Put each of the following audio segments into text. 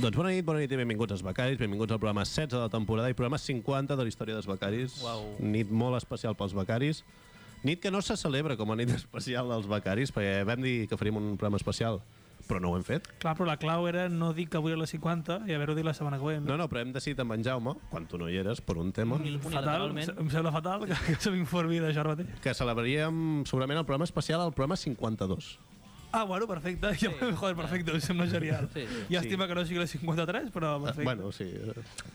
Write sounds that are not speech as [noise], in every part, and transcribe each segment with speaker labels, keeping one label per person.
Speaker 1: Doncs bona nit, bona nit i benvinguts als Becaris, benvinguts al programa 16 de la temporada i programa 50 de la història dels Becaris.
Speaker 2: Uau.
Speaker 1: Nit molt especial pels Becaris. Nit que no se celebra com a nit [laughs] especial dels Becaris, perquè vam dir que faríem un programa especial, però no ho hem fet.
Speaker 2: Clar, però la clau era no dir que avui a les 50 i haver-ho dit la setmana següent.
Speaker 1: No, no, però hem decidit amb en Jaume, quan tu no hi eres, per un tema,
Speaker 2: Mm. fatal,
Speaker 3: Mm, Unilateralment.
Speaker 2: em sembla fatal que, que se m'informi d'això ara mateix.
Speaker 1: que celebraríem segurament el programa especial al programa 52.
Speaker 2: Ah, bueno, perfecte. Sí, [laughs] Joder, perfecte, em sembla genial.
Speaker 3: Sí, sí.
Speaker 2: Llàstima que no sigui la 53, però perfecte.
Speaker 1: Ah, Eh, Bueno, sí.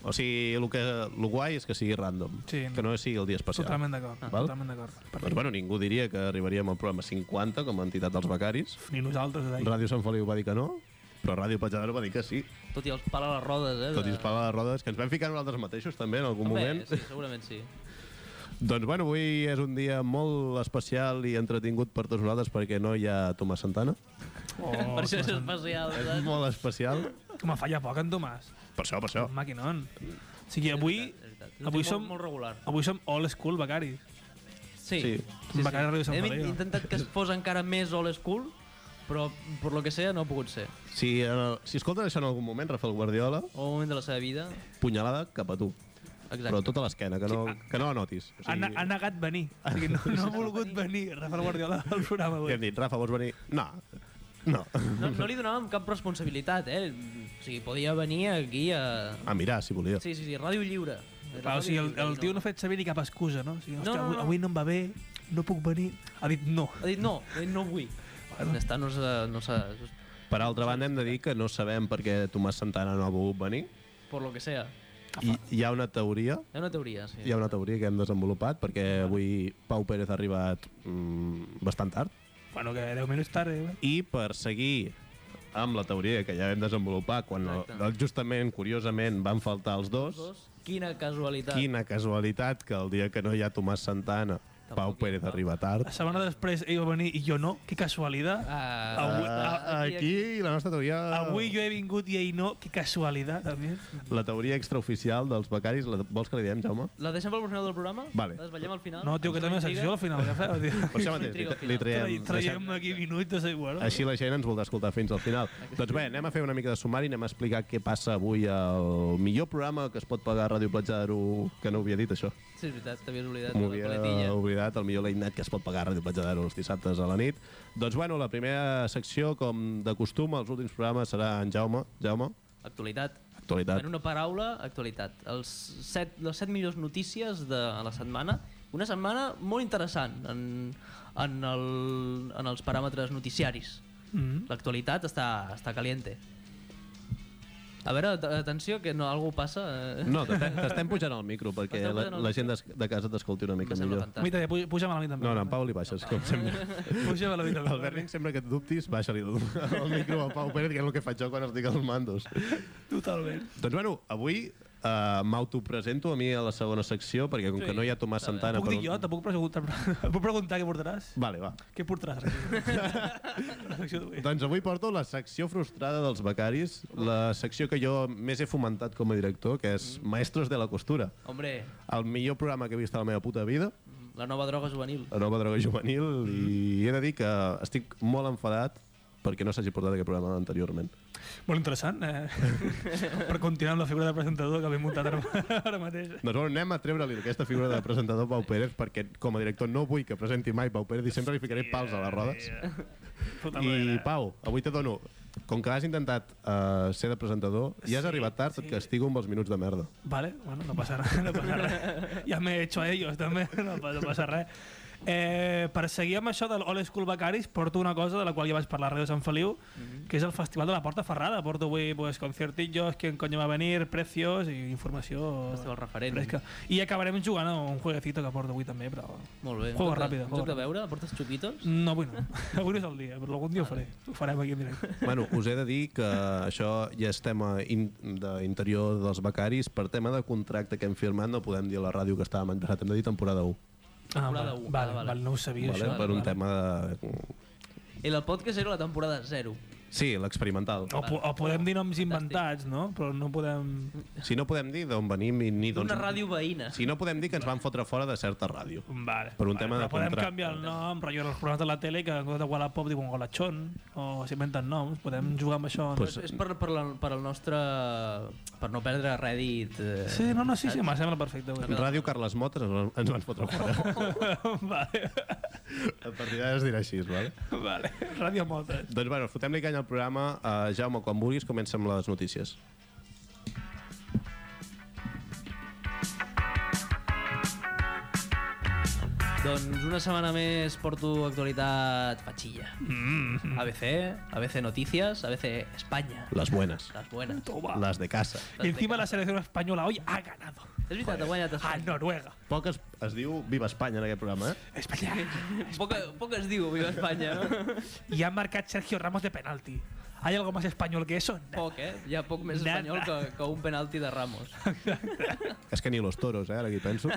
Speaker 1: O sigui, el, que, el guai és que sigui random,
Speaker 2: Sí.
Speaker 1: que no sigui el dia especial.
Speaker 2: Totalment d'acord,
Speaker 3: Ah.
Speaker 1: Val?
Speaker 2: totalment d'acord.
Speaker 1: Doncs bueno, ningú diria que arribaríem al programa 50 com a entitat dels becaris.
Speaker 2: Ni nosaltres, eh?
Speaker 1: Ràdio Sant Feliu va dir que no, però Ràdio Patxadero va dir que sí.
Speaker 3: Tot i els pal a les rodes, eh?
Speaker 1: Tot i es parla de rodes, que ens vam ficar nosaltres mateixos també en algun
Speaker 3: Bé,
Speaker 1: moment.
Speaker 3: Sí, segurament sí.
Speaker 1: Doncs bueno, avui és un dia molt especial i entretingut per tots nosaltres perquè no hi ha Tomàs Santana.
Speaker 2: Oh,
Speaker 3: per això és
Speaker 2: que
Speaker 3: especial,
Speaker 1: És
Speaker 3: saps?
Speaker 1: molt especial.
Speaker 2: m'ha- que me falla poc, en Tomàs.
Speaker 1: Per això, per això.
Speaker 2: Un maquinón. O sigui, avui,
Speaker 3: És veritat, és veritat. És un
Speaker 2: avui
Speaker 3: tio
Speaker 2: som,
Speaker 3: Molt, molt regular.
Speaker 2: avui som old school becaris.
Speaker 3: Sí.
Speaker 1: Sí.
Speaker 2: Becari Ràdio Sant
Speaker 3: Hem
Speaker 2: Feliu.
Speaker 3: intentat que es fos encara més old school, però per lo que sea no ha pogut ser.
Speaker 1: Si, en el, si escolten això en algun moment, Rafael Guardiola,
Speaker 3: O un moment de la seva vida.
Speaker 1: punyalada cap a tu.
Speaker 3: Exacte. ah.
Speaker 1: Però tota l'esquena, que, no, que no la notis. O
Speaker 2: Ha, ne- ha negat venir. O sigui, no,
Speaker 3: [laughs]
Speaker 2: no ha volgut venir Rafael Guardiola
Speaker 1: [laughs]
Speaker 2: al programa
Speaker 1: I
Speaker 2: avui.
Speaker 1: hem dit, Rafa, vols venir? No. No. [laughs]
Speaker 3: No, no li donàvem cap responsabilitat, eh? O sigui, podia venir aquí a...
Speaker 1: A mirar, si volia.
Speaker 3: Sí, sí, sí, Ràdio Lliure.
Speaker 2: Clar, Ah, o sigui, el, el
Speaker 3: Ràdio
Speaker 2: tio
Speaker 3: Lliure,
Speaker 2: no ha fet servir ni cap excusa, no? O sigui,
Speaker 3: No,
Speaker 2: hòstia,
Speaker 3: no,
Speaker 2: avui,
Speaker 3: no.
Speaker 2: avui no em va bé, no puc venir. Ha dit no.
Speaker 3: Ha dit no, ha dit no vull. Ja està, no s'ha... No s'ha...
Speaker 1: Per altra banda, hem de dir que no sabem per què Tomàs Santana no ha volgut venir.
Speaker 3: Por lo que sea.
Speaker 1: I hi ha una teoria,
Speaker 3: Hi ha una teoria, sí.
Speaker 1: hi ha una teoria que hem desenvolupat, perquè avui Pau Pérez ha arribat mm, bastant tard.
Speaker 2: Bueno, que 10 minuts tard, eh?
Speaker 1: I per seguir amb la teoria que ja vam desenvolupar, quan el,
Speaker 3: Exacte.
Speaker 1: el- justament, curiosament, van faltar els dos,
Speaker 3: Dos. Quina casualitat.
Speaker 1: quina casualitat que el dia que no hi ha Tomàs Santana, Pau
Speaker 3: hi
Speaker 1: Pérez
Speaker 3: va.
Speaker 1: arriba tard.
Speaker 2: La setmana després ell va venir i jo no. Que casualitat.
Speaker 3: Ah,
Speaker 2: Avui-
Speaker 1: Ah, aquí la nostra teoria...
Speaker 2: Avui jo he vingut i ell no. Que casualitat, també.
Speaker 1: La teoria extraoficial dels becaris, la, vols que li diem, Jaume?
Speaker 3: La deixem pel final del programa?
Speaker 1: Vale.
Speaker 3: La desvetllem al final?
Speaker 2: No, tio, que té una secció al final, què feu,
Speaker 1: Per
Speaker 2: tio?
Speaker 1: això mateix, li, li
Speaker 2: Traiem,
Speaker 1: traiem...
Speaker 2: traiem aquí minuts, no sé, bueno.
Speaker 1: Així la gent ens voldrà escoltar fins al final. doncs bé, anem a fer una mica de sumari, anem a explicar què passa avui al millor programa que es pot pagar a Ràdio Platja d'Aro, que no ho havia dit això.
Speaker 3: Sí, és veritat, t'havies oblidat de tota
Speaker 1: M'ho
Speaker 3: la
Speaker 1: havia
Speaker 3: paletilla.
Speaker 1: oblidat, el millor late night que es pot pagar a Ràdio Platja d'Aro els dissabtes a la nit. Doncs bueno, la primera secció, com de costum, als últims programes serà en Jaume. Jaume,
Speaker 3: Actualitat. En
Speaker 1: actualitat.
Speaker 3: una paraula, actualitat. Els set, les set millors notícies de la setmana. Una setmana molt interessant en, en, el, en els paràmetres noticiaris.
Speaker 2: Mhm.
Speaker 3: L'actualitat està, està caliente. A veure, at- atenció, que no, algú passa. eh?
Speaker 1: No, t'estem t'estem pujant al micro perquè
Speaker 3: T'estem
Speaker 1: la,
Speaker 3: pujant al
Speaker 1: la
Speaker 3: micro.
Speaker 1: gent des- de casa t'escolti una mica
Speaker 3: Em sembla
Speaker 1: millor.
Speaker 3: fantàstic.
Speaker 2: A mi també, puja- puja'm a la mi també.
Speaker 1: No, no, en Pau li baixes, com
Speaker 3: Ah.
Speaker 1: sempre.
Speaker 2: Puja'm a la mi també.
Speaker 1: El Berling, sempre que et dubtis, baixa-li el, el micro al Pau Pérez, que és el que faig jo quan estic als mandos.
Speaker 2: Totalment.
Speaker 1: Doncs bueno, avui uh, m'autopresento a mi a la segona secció, perquè com sí, que no hi ha Tomàs Santana...
Speaker 2: Puc dir
Speaker 1: per
Speaker 2: jo?
Speaker 1: un-
Speaker 2: Te puc preguntar, [laughs] puc preguntar què portaràs?
Speaker 1: Vale, va.
Speaker 2: Què
Speaker 1: [laughs]
Speaker 2: portaràs? la secció d'avui.
Speaker 1: Doncs avui porto la secció frustrada dels becaris, la secció que jo més he fomentat com a director, que és
Speaker 2: Mm.
Speaker 1: Maestros de la Costura.
Speaker 3: Hombre,
Speaker 1: El millor programa que he vist a la meva puta vida,
Speaker 3: la nova droga juvenil.
Speaker 1: la nova droga
Speaker 2: Mm.
Speaker 1: juvenil, i he de dir que estic molt enfadat perquè no s'hagi portat aquest programa anteriorment. Doncs
Speaker 2: Molt
Speaker 1: [laughs]
Speaker 2: interessant, eh? per continuar amb la figura de presentador que hem muntat ara, [laughs] ara mateix.
Speaker 1: Doncs bueno, anem a treure-li aquesta figura de presentador Pau Pérez, perquè com a director no vull que presenti mai Pau Pérez i sempre li ficaré pals a les rodes. I Pau, avui te dono, com que has intentat uh, ser de presentador i has
Speaker 2: Sí,
Speaker 1: arribat tard, et
Speaker 2: sí.
Speaker 1: castigo amb els minuts de merda.
Speaker 2: Vale, bueno, no passa res, [laughs] no passa res. Ja m'he hecho a ellos, també, [laughs] no, pa- no passa res. Eh, per seguir amb això de l'Old School Becaris, porto una cosa de la qual ja vaig parlar a Ràdio Sant Feliu, que és el Festival de la Porta Ferrada. Porto avui pues, concertillos, quién coño va a venir, precios i informació...
Speaker 3: Festival referent.
Speaker 2: Fresca. I acabarem jugant a un jueguecito que porto avui també, però...
Speaker 3: Molt bé. Un
Speaker 2: Juego
Speaker 3: joc de-
Speaker 2: ràpido,
Speaker 3: Un
Speaker 2: juego
Speaker 3: joc de
Speaker 2: ràpido.
Speaker 3: veure? Portes xupitos?
Speaker 2: No, avui [laughs] no. Avui no és el dia, però algun dia ho faré. Ho farem aquí en directe.
Speaker 1: Bueno, us he de dir que això ja és tema in d'interior dels becaris. Per tema de contracte que hem firmat no podem dir a la ràdio que estàvem interessat. Hem de dir temporada 1,
Speaker 2: Ah,
Speaker 3: Temporada
Speaker 2: vale,
Speaker 3: u.
Speaker 2: vale,
Speaker 3: Ah, vale.
Speaker 2: vale, no ho sabia,
Speaker 1: vale?
Speaker 2: això.
Speaker 1: per un tema de...
Speaker 3: I el podcast era la temporada 0.
Speaker 1: Sí, l'experimental.
Speaker 2: O, po- o podem dir noms inventats, no? Però no podem...
Speaker 1: Si no podem dir d'on venim i ni
Speaker 2: Doncs
Speaker 1: d'on...
Speaker 3: D'una ràdio veïna.
Speaker 1: Si no podem dir que ens van fotre fora de certa ràdio.
Speaker 2: Vale,
Speaker 1: Per un
Speaker 2: vale,
Speaker 1: tema de
Speaker 2: però podem
Speaker 1: contracte.
Speaker 2: canviar el nom, rotllo els programes de la tele que en comptes de Wallapop diuen Golachón o s'inventen noms, podem jugar amb això.
Speaker 1: Pues-
Speaker 2: Pues,
Speaker 3: És, és per, per, la, per el nostre... per no perdre Reddit. Eh,
Speaker 2: sí, no, no, sí, sí, em sembla
Speaker 1: [laughs]
Speaker 2: perfecte. Vull dir.
Speaker 1: Ràdio Carles Motes ens van- ens van fotre
Speaker 2: [laughs]
Speaker 1: fora.
Speaker 2: vale,
Speaker 1: A partir d'ara es dirà així, vale?
Speaker 2: vale. Ràdio Motes.
Speaker 1: Doncs bueno, fotem-li canya al programa. Uh, Jaume, quan vulguis, comença amb les notícies.
Speaker 3: Doncs una setmana més porto actualitat patxilla. Mm. ABC, ABC Noticias, ABC Espanya.
Speaker 1: Les buenes.
Speaker 3: Les buenas.
Speaker 2: Toma.
Speaker 1: Les de casa.
Speaker 2: Y encima la selección española hoy ha ganado
Speaker 3: És veritat, ha guanyat
Speaker 2: a
Speaker 3: Espanya.
Speaker 2: Noruega.
Speaker 1: Poc es, es diu Viva Espanya en aquest programa, eh?
Speaker 2: Espanya.
Speaker 3: Poc, poc es diu, viva Espanya,
Speaker 2: [laughs]
Speaker 3: no?
Speaker 2: Y ha marcado Sergio Ramos de penalti. ¿Hay algo más español que eso?
Speaker 1: [laughs]
Speaker 2: No.
Speaker 3: Poc, eh? Hi ha poc més
Speaker 2: Nada.
Speaker 3: espanyol que, que un penalti de
Speaker 2: [laughs]
Speaker 3: Ramos.
Speaker 1: És que ni los toros, eh? Ara que hi
Speaker 3: [laughs]
Speaker 1: penso.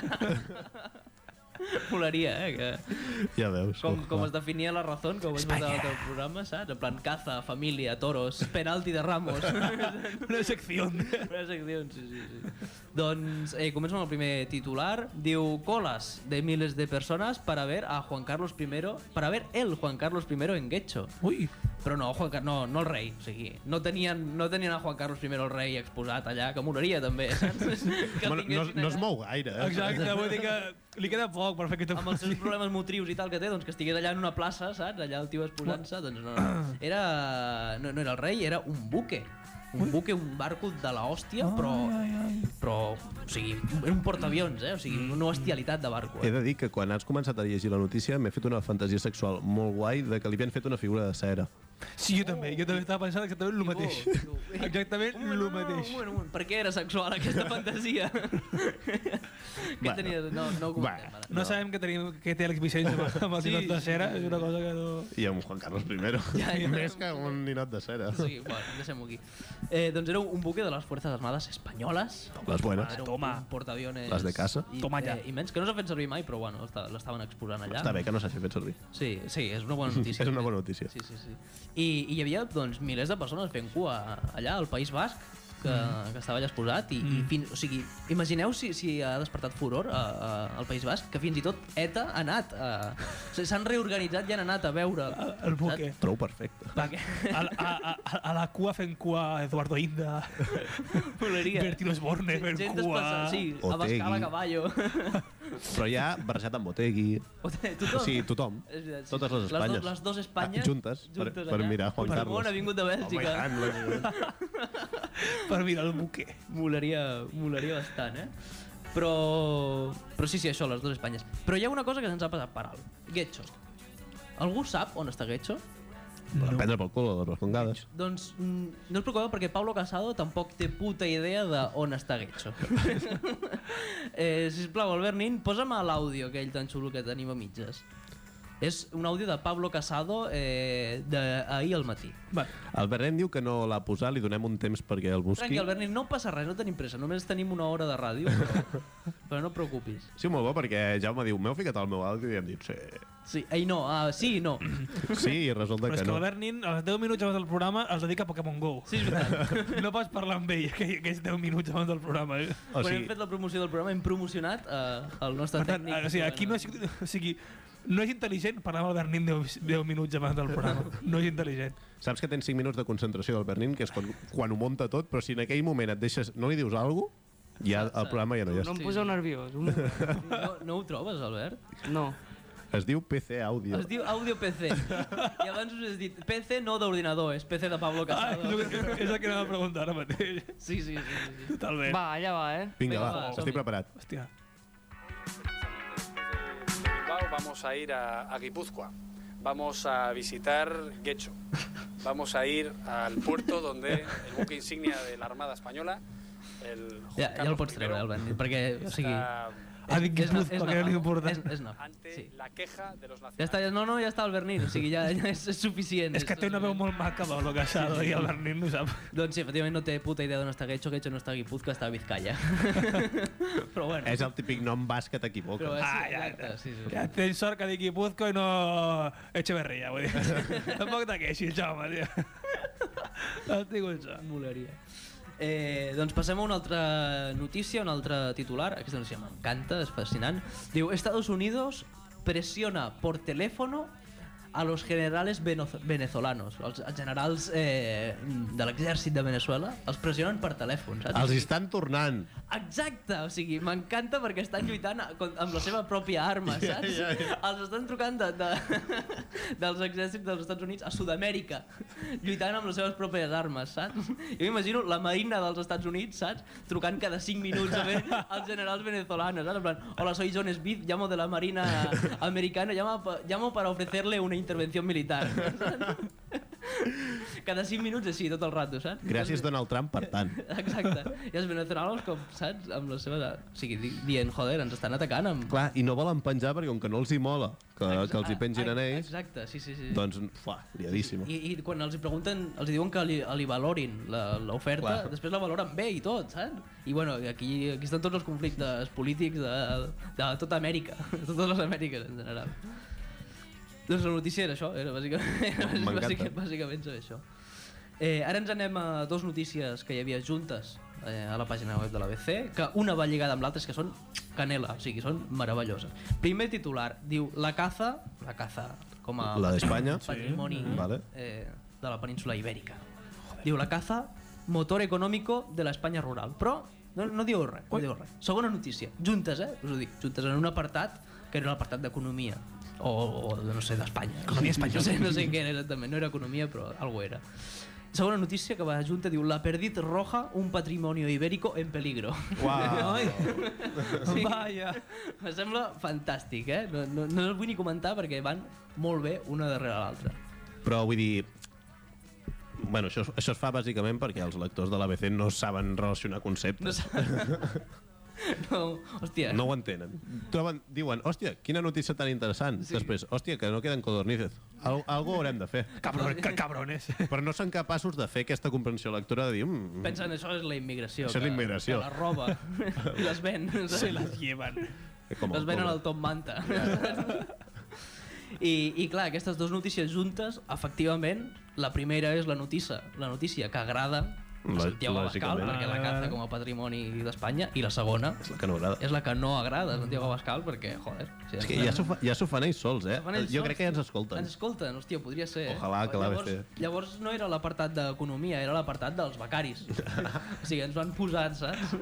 Speaker 3: Molaria, eh? Que,
Speaker 1: Ja veus.
Speaker 3: com, com
Speaker 1: Uah.
Speaker 3: es definia la raó, com es
Speaker 2: Espanya.
Speaker 3: matava el programa, saps? En plan, caza, família, toros, penalti
Speaker 1: [laughs]
Speaker 3: de Ramos.
Speaker 2: Una sección.
Speaker 3: Una secció, sí, sí, sí. Doncs eh, començo amb el primer titular. Diu, colas de miles de personas para ver a Juan Carlos I, para ver el Juan Carlos I en Guecho.
Speaker 2: Ui,
Speaker 3: Però no, Juan Car no, no el rei, o sigui, no tenien, no tenien a Juan Carlos I el rei exposat allà, que molaria
Speaker 1: [laughs]
Speaker 3: també, saps? Que el
Speaker 1: Bueno, no,
Speaker 3: tinguessin
Speaker 1: no es
Speaker 3: allà
Speaker 1: mou gaire, eh?
Speaker 2: exacte, vull dir que li queda poc per fer aquesta
Speaker 3: Amb els seus problemes motrius i tal que té, doncs que estigués allà en una plaça, saps? Allà el tio exposant-se, doncs no, no. Era... No, no era el rei, era un buque. Un buque, un barco de la hòstia, però...
Speaker 2: Ai, ai.
Speaker 3: però, o sigui, era un portaavions, eh? O sigui, una bestialitat de barco.
Speaker 1: He
Speaker 3: Eh?
Speaker 1: de dir que quan has començat a llegir la notícia m'he fet una fantasia sexual molt guai de que li havien fet una figura de cera.
Speaker 2: Sí,
Speaker 3: Oh,
Speaker 2: jo també, jo també estava pensant exactament el mateix. [laughs]
Speaker 3: Digo, digo,
Speaker 2: Exactament
Speaker 3: Un moment, "Eh, no, no,
Speaker 2: el
Speaker 3: no,
Speaker 2: mateix.
Speaker 3: un moment, un moment. Per què era sexual aquesta
Speaker 2: [laughs]
Speaker 3: fantasia? Què
Speaker 1: Bueno.
Speaker 3: tenia? No, no
Speaker 1: Bueno.
Speaker 3: ho comentem. Ara.
Speaker 2: No sabem què, tenim, què té Àlex Vicenç amb, amb el
Speaker 3: Sí,
Speaker 2: tinot de
Speaker 3: sí,
Speaker 2: cera, és una cosa que no...
Speaker 1: I amb Juan Carlos I.
Speaker 3: Ja, ja.
Speaker 1: [laughs] Més que un ninot de cera.
Speaker 3: Sí, bueno, deixem-ho aquí. Eh, doncs era un buque de les Fuerzas Armades Espanyoles.
Speaker 1: Les buenes.
Speaker 3: Era un,
Speaker 2: Toma.
Speaker 3: un portaaviones...
Speaker 1: Les de casa.
Speaker 3: I,
Speaker 2: Toma ja.
Speaker 3: eh, I menys, que no s'ha fet servir mai, però bueno, esta- l'estaven exposant allà.
Speaker 1: Està bé que no s'hagi fet servir.
Speaker 3: Sí, sí, és una
Speaker 1: [laughs]
Speaker 3: bona notícia.
Speaker 1: És una bona notícia.
Speaker 3: Sí, sí, sí. I, i hi havia doncs, milers de persones fent cua allà al País Basc, que, mm. que estava allà exposat. I, mm. i fins, o sigui, imagineu si, si ha despertat furor a, a, al País Basc, que fins i tot ETA ha anat. A, o sigui, S'han reorganitzat i han anat a veure.
Speaker 2: El
Speaker 3: [laughs]
Speaker 2: buque.
Speaker 1: Trobo perfecte.
Speaker 2: A, a, a, a, a la cua fent cua Eduardo
Speaker 3: [laughs]
Speaker 2: Inda,
Speaker 3: Voleria.
Speaker 2: Bertino Esborne fent
Speaker 3: Gent
Speaker 2: cua...
Speaker 3: desplaçada, sí, a
Speaker 1: Otegui.
Speaker 3: Bascala Caballo. [laughs]
Speaker 1: Però ja barrejat amb Botegui.
Speaker 3: Tothom.
Speaker 1: O sigui, tothom.
Speaker 3: És veritat, sí.
Speaker 1: Totes les Espanyes.
Speaker 3: Les, do, les dos Espanyes.
Speaker 1: Ah, juntes, per- per
Speaker 3: allà.
Speaker 1: mirar Juan
Speaker 3: Puigdemont
Speaker 1: Carlos.
Speaker 3: ha vingut de
Speaker 1: Home, i
Speaker 3: Bèlgica.
Speaker 1: tant, lògicament.
Speaker 2: Per mirar el buque.
Speaker 3: molaria, molaria bastant, eh? Però... Però sí, sí, això, les dues Espanyes. Però hi ha una cosa que se'ns ha passat per alt. Getxo. Algú sap on està Getxo?
Speaker 1: Per prendre pel cul a les respongades.
Speaker 3: Doncs mm, no us preocupeu perquè Pablo Casado tampoc té puta idea de on està Getxo. [laughs] eh, sisplau, Albert Nin, posa'm a l'àudio aquell tan xulo que tenim a mitges. És un àudio de Pablo Casado eh, d'ahir al matí.
Speaker 2: Va,
Speaker 1: El Bernet diu que no l'ha posat, li donem un temps perquè el busqui.
Speaker 3: Tranqui, Albert Nin, no passa res, no tenim pressa, només tenim una hora de ràdio,
Speaker 2: [laughs]
Speaker 3: però, però no et preocupis.
Speaker 1: Sí, molt bo, perquè Jaume diu, m'heu ficat al meu àudio i hem dit, sí,
Speaker 3: Sí, ai no, ah, sí i no.
Speaker 1: sí i resulta
Speaker 2: però és
Speaker 1: que
Speaker 2: que
Speaker 1: no.
Speaker 2: l'Albert Nin, als 10 minuts abans del programa, els dedica a Pokémon
Speaker 3: [laughs]
Speaker 2: GO.
Speaker 3: Sí, és veritat.
Speaker 2: No pots parlar amb ell aquell- aquells 10 minuts abans del programa. Eh?
Speaker 1: O
Speaker 3: Quan hem
Speaker 1: sigui,
Speaker 3: fet la promoció del programa hem promocionat eh, el nostre
Speaker 2: Per tant,
Speaker 3: tècnic.
Speaker 2: o sigui, ah, aquí no és, [laughs] o sigui, no és intel·ligent parlar amb el Bernin 10, 10 minuts abans del programa. No és intel·ligent.
Speaker 1: saps que tens 5 minuts de concentració del Bernin, que és quan, quan ho monta tot, però si en aquell moment et deixes, no li dius alguna cosa, ja el programa ja no hi és.
Speaker 4: No em poseu nerviós. Un...
Speaker 1: [laughs]
Speaker 3: No, no ho trobes, Albert?
Speaker 4: No.
Speaker 1: Es diu PC Àudio.
Speaker 3: Es diu Audio PC. I abans us he dit PC no d'ordinador, és PC de Pablo
Speaker 2: Ah, és,
Speaker 3: Casado.
Speaker 2: el [laughs] que, és el que anava a preguntar ara [laughs] mateix.
Speaker 3: Sí, sí, sí. sí, sí.
Speaker 2: Totalment.
Speaker 4: Va, allà va, eh?
Speaker 1: Vinga,
Speaker 3: Vinga,
Speaker 1: va,
Speaker 3: va,
Speaker 1: estic
Speaker 3: som-hi.
Speaker 1: preparat.
Speaker 2: Hòstia.
Speaker 5: Bilbao vamos a ir a, a Guipúzcoa. Vamos a visitar Guecho. Vamos a ir al puerto donde el buque insignia de la Armada Española, el Juan
Speaker 3: Ja, ja el
Speaker 5: Carlos
Speaker 3: pots
Speaker 5: I,
Speaker 3: treure, Albert, perquè, o sigui...
Speaker 5: está
Speaker 2: Ha dit
Speaker 3: és na-
Speaker 2: Guipúzcoa,
Speaker 3: és
Speaker 2: que era
Speaker 3: nafado,
Speaker 2: [laughs] l'important.
Speaker 3: És, és nafado,
Speaker 5: ante
Speaker 3: Ah, sí.
Speaker 5: la queja de los nacionales.
Speaker 3: Ja està, ja- no, no, ja està el Bernil, o sigui, ja, ja és, és suficient.
Speaker 2: És que este té una veu molt maca, Pablo Casado, i el Bernin no sap.
Speaker 3: Doncs sí, efectivament no té puta idea d'on està Getxo, Getxo no està a Guipúzcoa, està a Vizcaya. [laughs] Però bueno.
Speaker 1: És el típic nom basc que
Speaker 3: Però
Speaker 1: t'equivoques.
Speaker 3: és,
Speaker 2: Ah, ja,
Speaker 3: exacte, sí, sí.
Speaker 2: Ja tens sort que digui Puzco i no Echeverría, vull dir. Tampoc t'aqueixis, home, tio. Estic això.
Speaker 3: Molaria. Eh, doncs passem a una altra notícia, un altre titular. Aquesta notícia m'encanta, és fascinant. Diu, Estados Unidos presiona por teléfono a los generales venoz- venezolanos. Els, els generals eh, de l'exèrcit de Venezuela els pressionen per Ah, telèfon, saps?
Speaker 1: Els estan tornant.
Speaker 3: Exacte, o sigui, m'encanta perquè estan lluitant a- con- amb la seva pròpia arma,
Speaker 1: Ja,
Speaker 3: saps?
Speaker 1: ja, ja.
Speaker 3: Els estan trucant de, [laughs] de, dels exèrcits dels Estats Units a Sud-amèrica, lluitant amb les seves pròpies armes, saps? Jo m'imagino la marina dels Estats Units, saps? Trucant cada 5 minuts a ver als generals venezolanos, saps? En plan, hola, soy John Smith, llamo de la marina americana, llamo, pa- llamo para ofrecerle una intervención militar. [laughs] saps? Cada 5 minuts així, tot el rato, saps?
Speaker 1: Gràcies, Donald Trump, per tant.
Speaker 3: [laughs] Exacte. I els venezolanos, com saps, amb les seves... O sigui, di- dient, joder, ens estan atacant amb...
Speaker 1: Clar, i no volen penjar perquè com que no els hi mola que,
Speaker 3: Exa-
Speaker 1: que els hi pengin
Speaker 3: ah,
Speaker 1: a ells,
Speaker 3: Exacte, sí, sí, sí.
Speaker 1: doncs, fa, liadíssimo.
Speaker 3: I, I quan els hi pregunten, els hi diuen que li, li valorin la- l'oferta,
Speaker 1: Clar.
Speaker 3: després la valoren bé i tot, saps? I bueno, aquí, aquí estan tots els conflictes polítics de, de tota Amèrica, [laughs] de totes les Amèriques en general. Doncs la notícia era això, era bàsicament, [laughs] era
Speaker 1: M'encanta.
Speaker 3: bàsicament, bàsicament sobre això. Eh, ara ens anem a dos notícies que hi havia juntes eh, a la pàgina web de l'ABC, que una va lligada amb l'altra, és que són canela, o sigui, són meravelloses. Primer titular, diu La caza, la caza com a
Speaker 1: La d'Espanya?
Speaker 3: patrimoni
Speaker 1: Vale.
Speaker 3: eh, de la península ibèrica. Diu La caza, motor econòmico de l'Espanya rural. Però no, no diu res, no diu res. Segona notícia, juntes, eh? Us ho dic, juntes en un apartat que era l'apartat d'economia o, o, no sé, d'Espanya. Economia espanyola. No sé, no sé què era exactament, no era economia, però alguna era. Segona notícia que va junta diu La perdiz roja, un patrimonio ibérico en peligro. [laughs]
Speaker 1: Uau!
Speaker 2: Ai,
Speaker 3: Sí.
Speaker 2: Vaya.
Speaker 3: Me sembla fantàstic, eh? No, no, no els vull ni comentar perquè van molt bé una darrere l'altra.
Speaker 1: Però vull dir... Bueno, això, es- això es fa bàsicament perquè els lectors de l'ABC no saben relacionar
Speaker 3: No
Speaker 1: [laughs] conceptes.
Speaker 3: sé. No, hòstia.
Speaker 1: No ho entenen. Troben, diuen, hòstia, quina notícia tan interessant.
Speaker 3: Sí.
Speaker 1: Després, hòstia, que no queden codornices. Al, algo haurem de fer.
Speaker 2: Cabron, ca cabrones. [laughs]
Speaker 1: Però no són capaços de fer aquesta comprensió lectora de dir... Mm,
Speaker 3: Pensen, això és la immigració.
Speaker 1: Això és la
Speaker 3: que-
Speaker 1: immigració.
Speaker 3: Que la roba.
Speaker 1: [laughs]
Speaker 3: I les ven.
Speaker 2: Se las llevan.
Speaker 1: com el
Speaker 3: les venen
Speaker 1: pobre.
Speaker 3: al Top Manta. I, I clar, aquestes dues notícies juntes, efectivament, la primera és la notícia, la notícia que agrada a
Speaker 1: Lò-
Speaker 3: Santiago Abascal,
Speaker 1: lògicament. Ah.
Speaker 3: perquè la caza com a patrimoni d'Espanya, i la segona
Speaker 1: És la que no agrada.
Speaker 3: és la que no agrada a Santiago Abascal, perquè, joder... o sigui,
Speaker 1: És que ja s'ho fa- ja s'ho fan ells sols, eh?
Speaker 3: Fan ells
Speaker 1: Jo
Speaker 3: sols.
Speaker 1: crec que ja ens escolten.
Speaker 3: Ens escolten, hòstia, podria ser. eh?
Speaker 1: Doncs Ojalà que l'ABC.
Speaker 3: Llavors, llavors no era l'apartat d'economia, era l'apartat dels
Speaker 1: [laughs]
Speaker 3: becaris. o sigui, ens van posar, saps?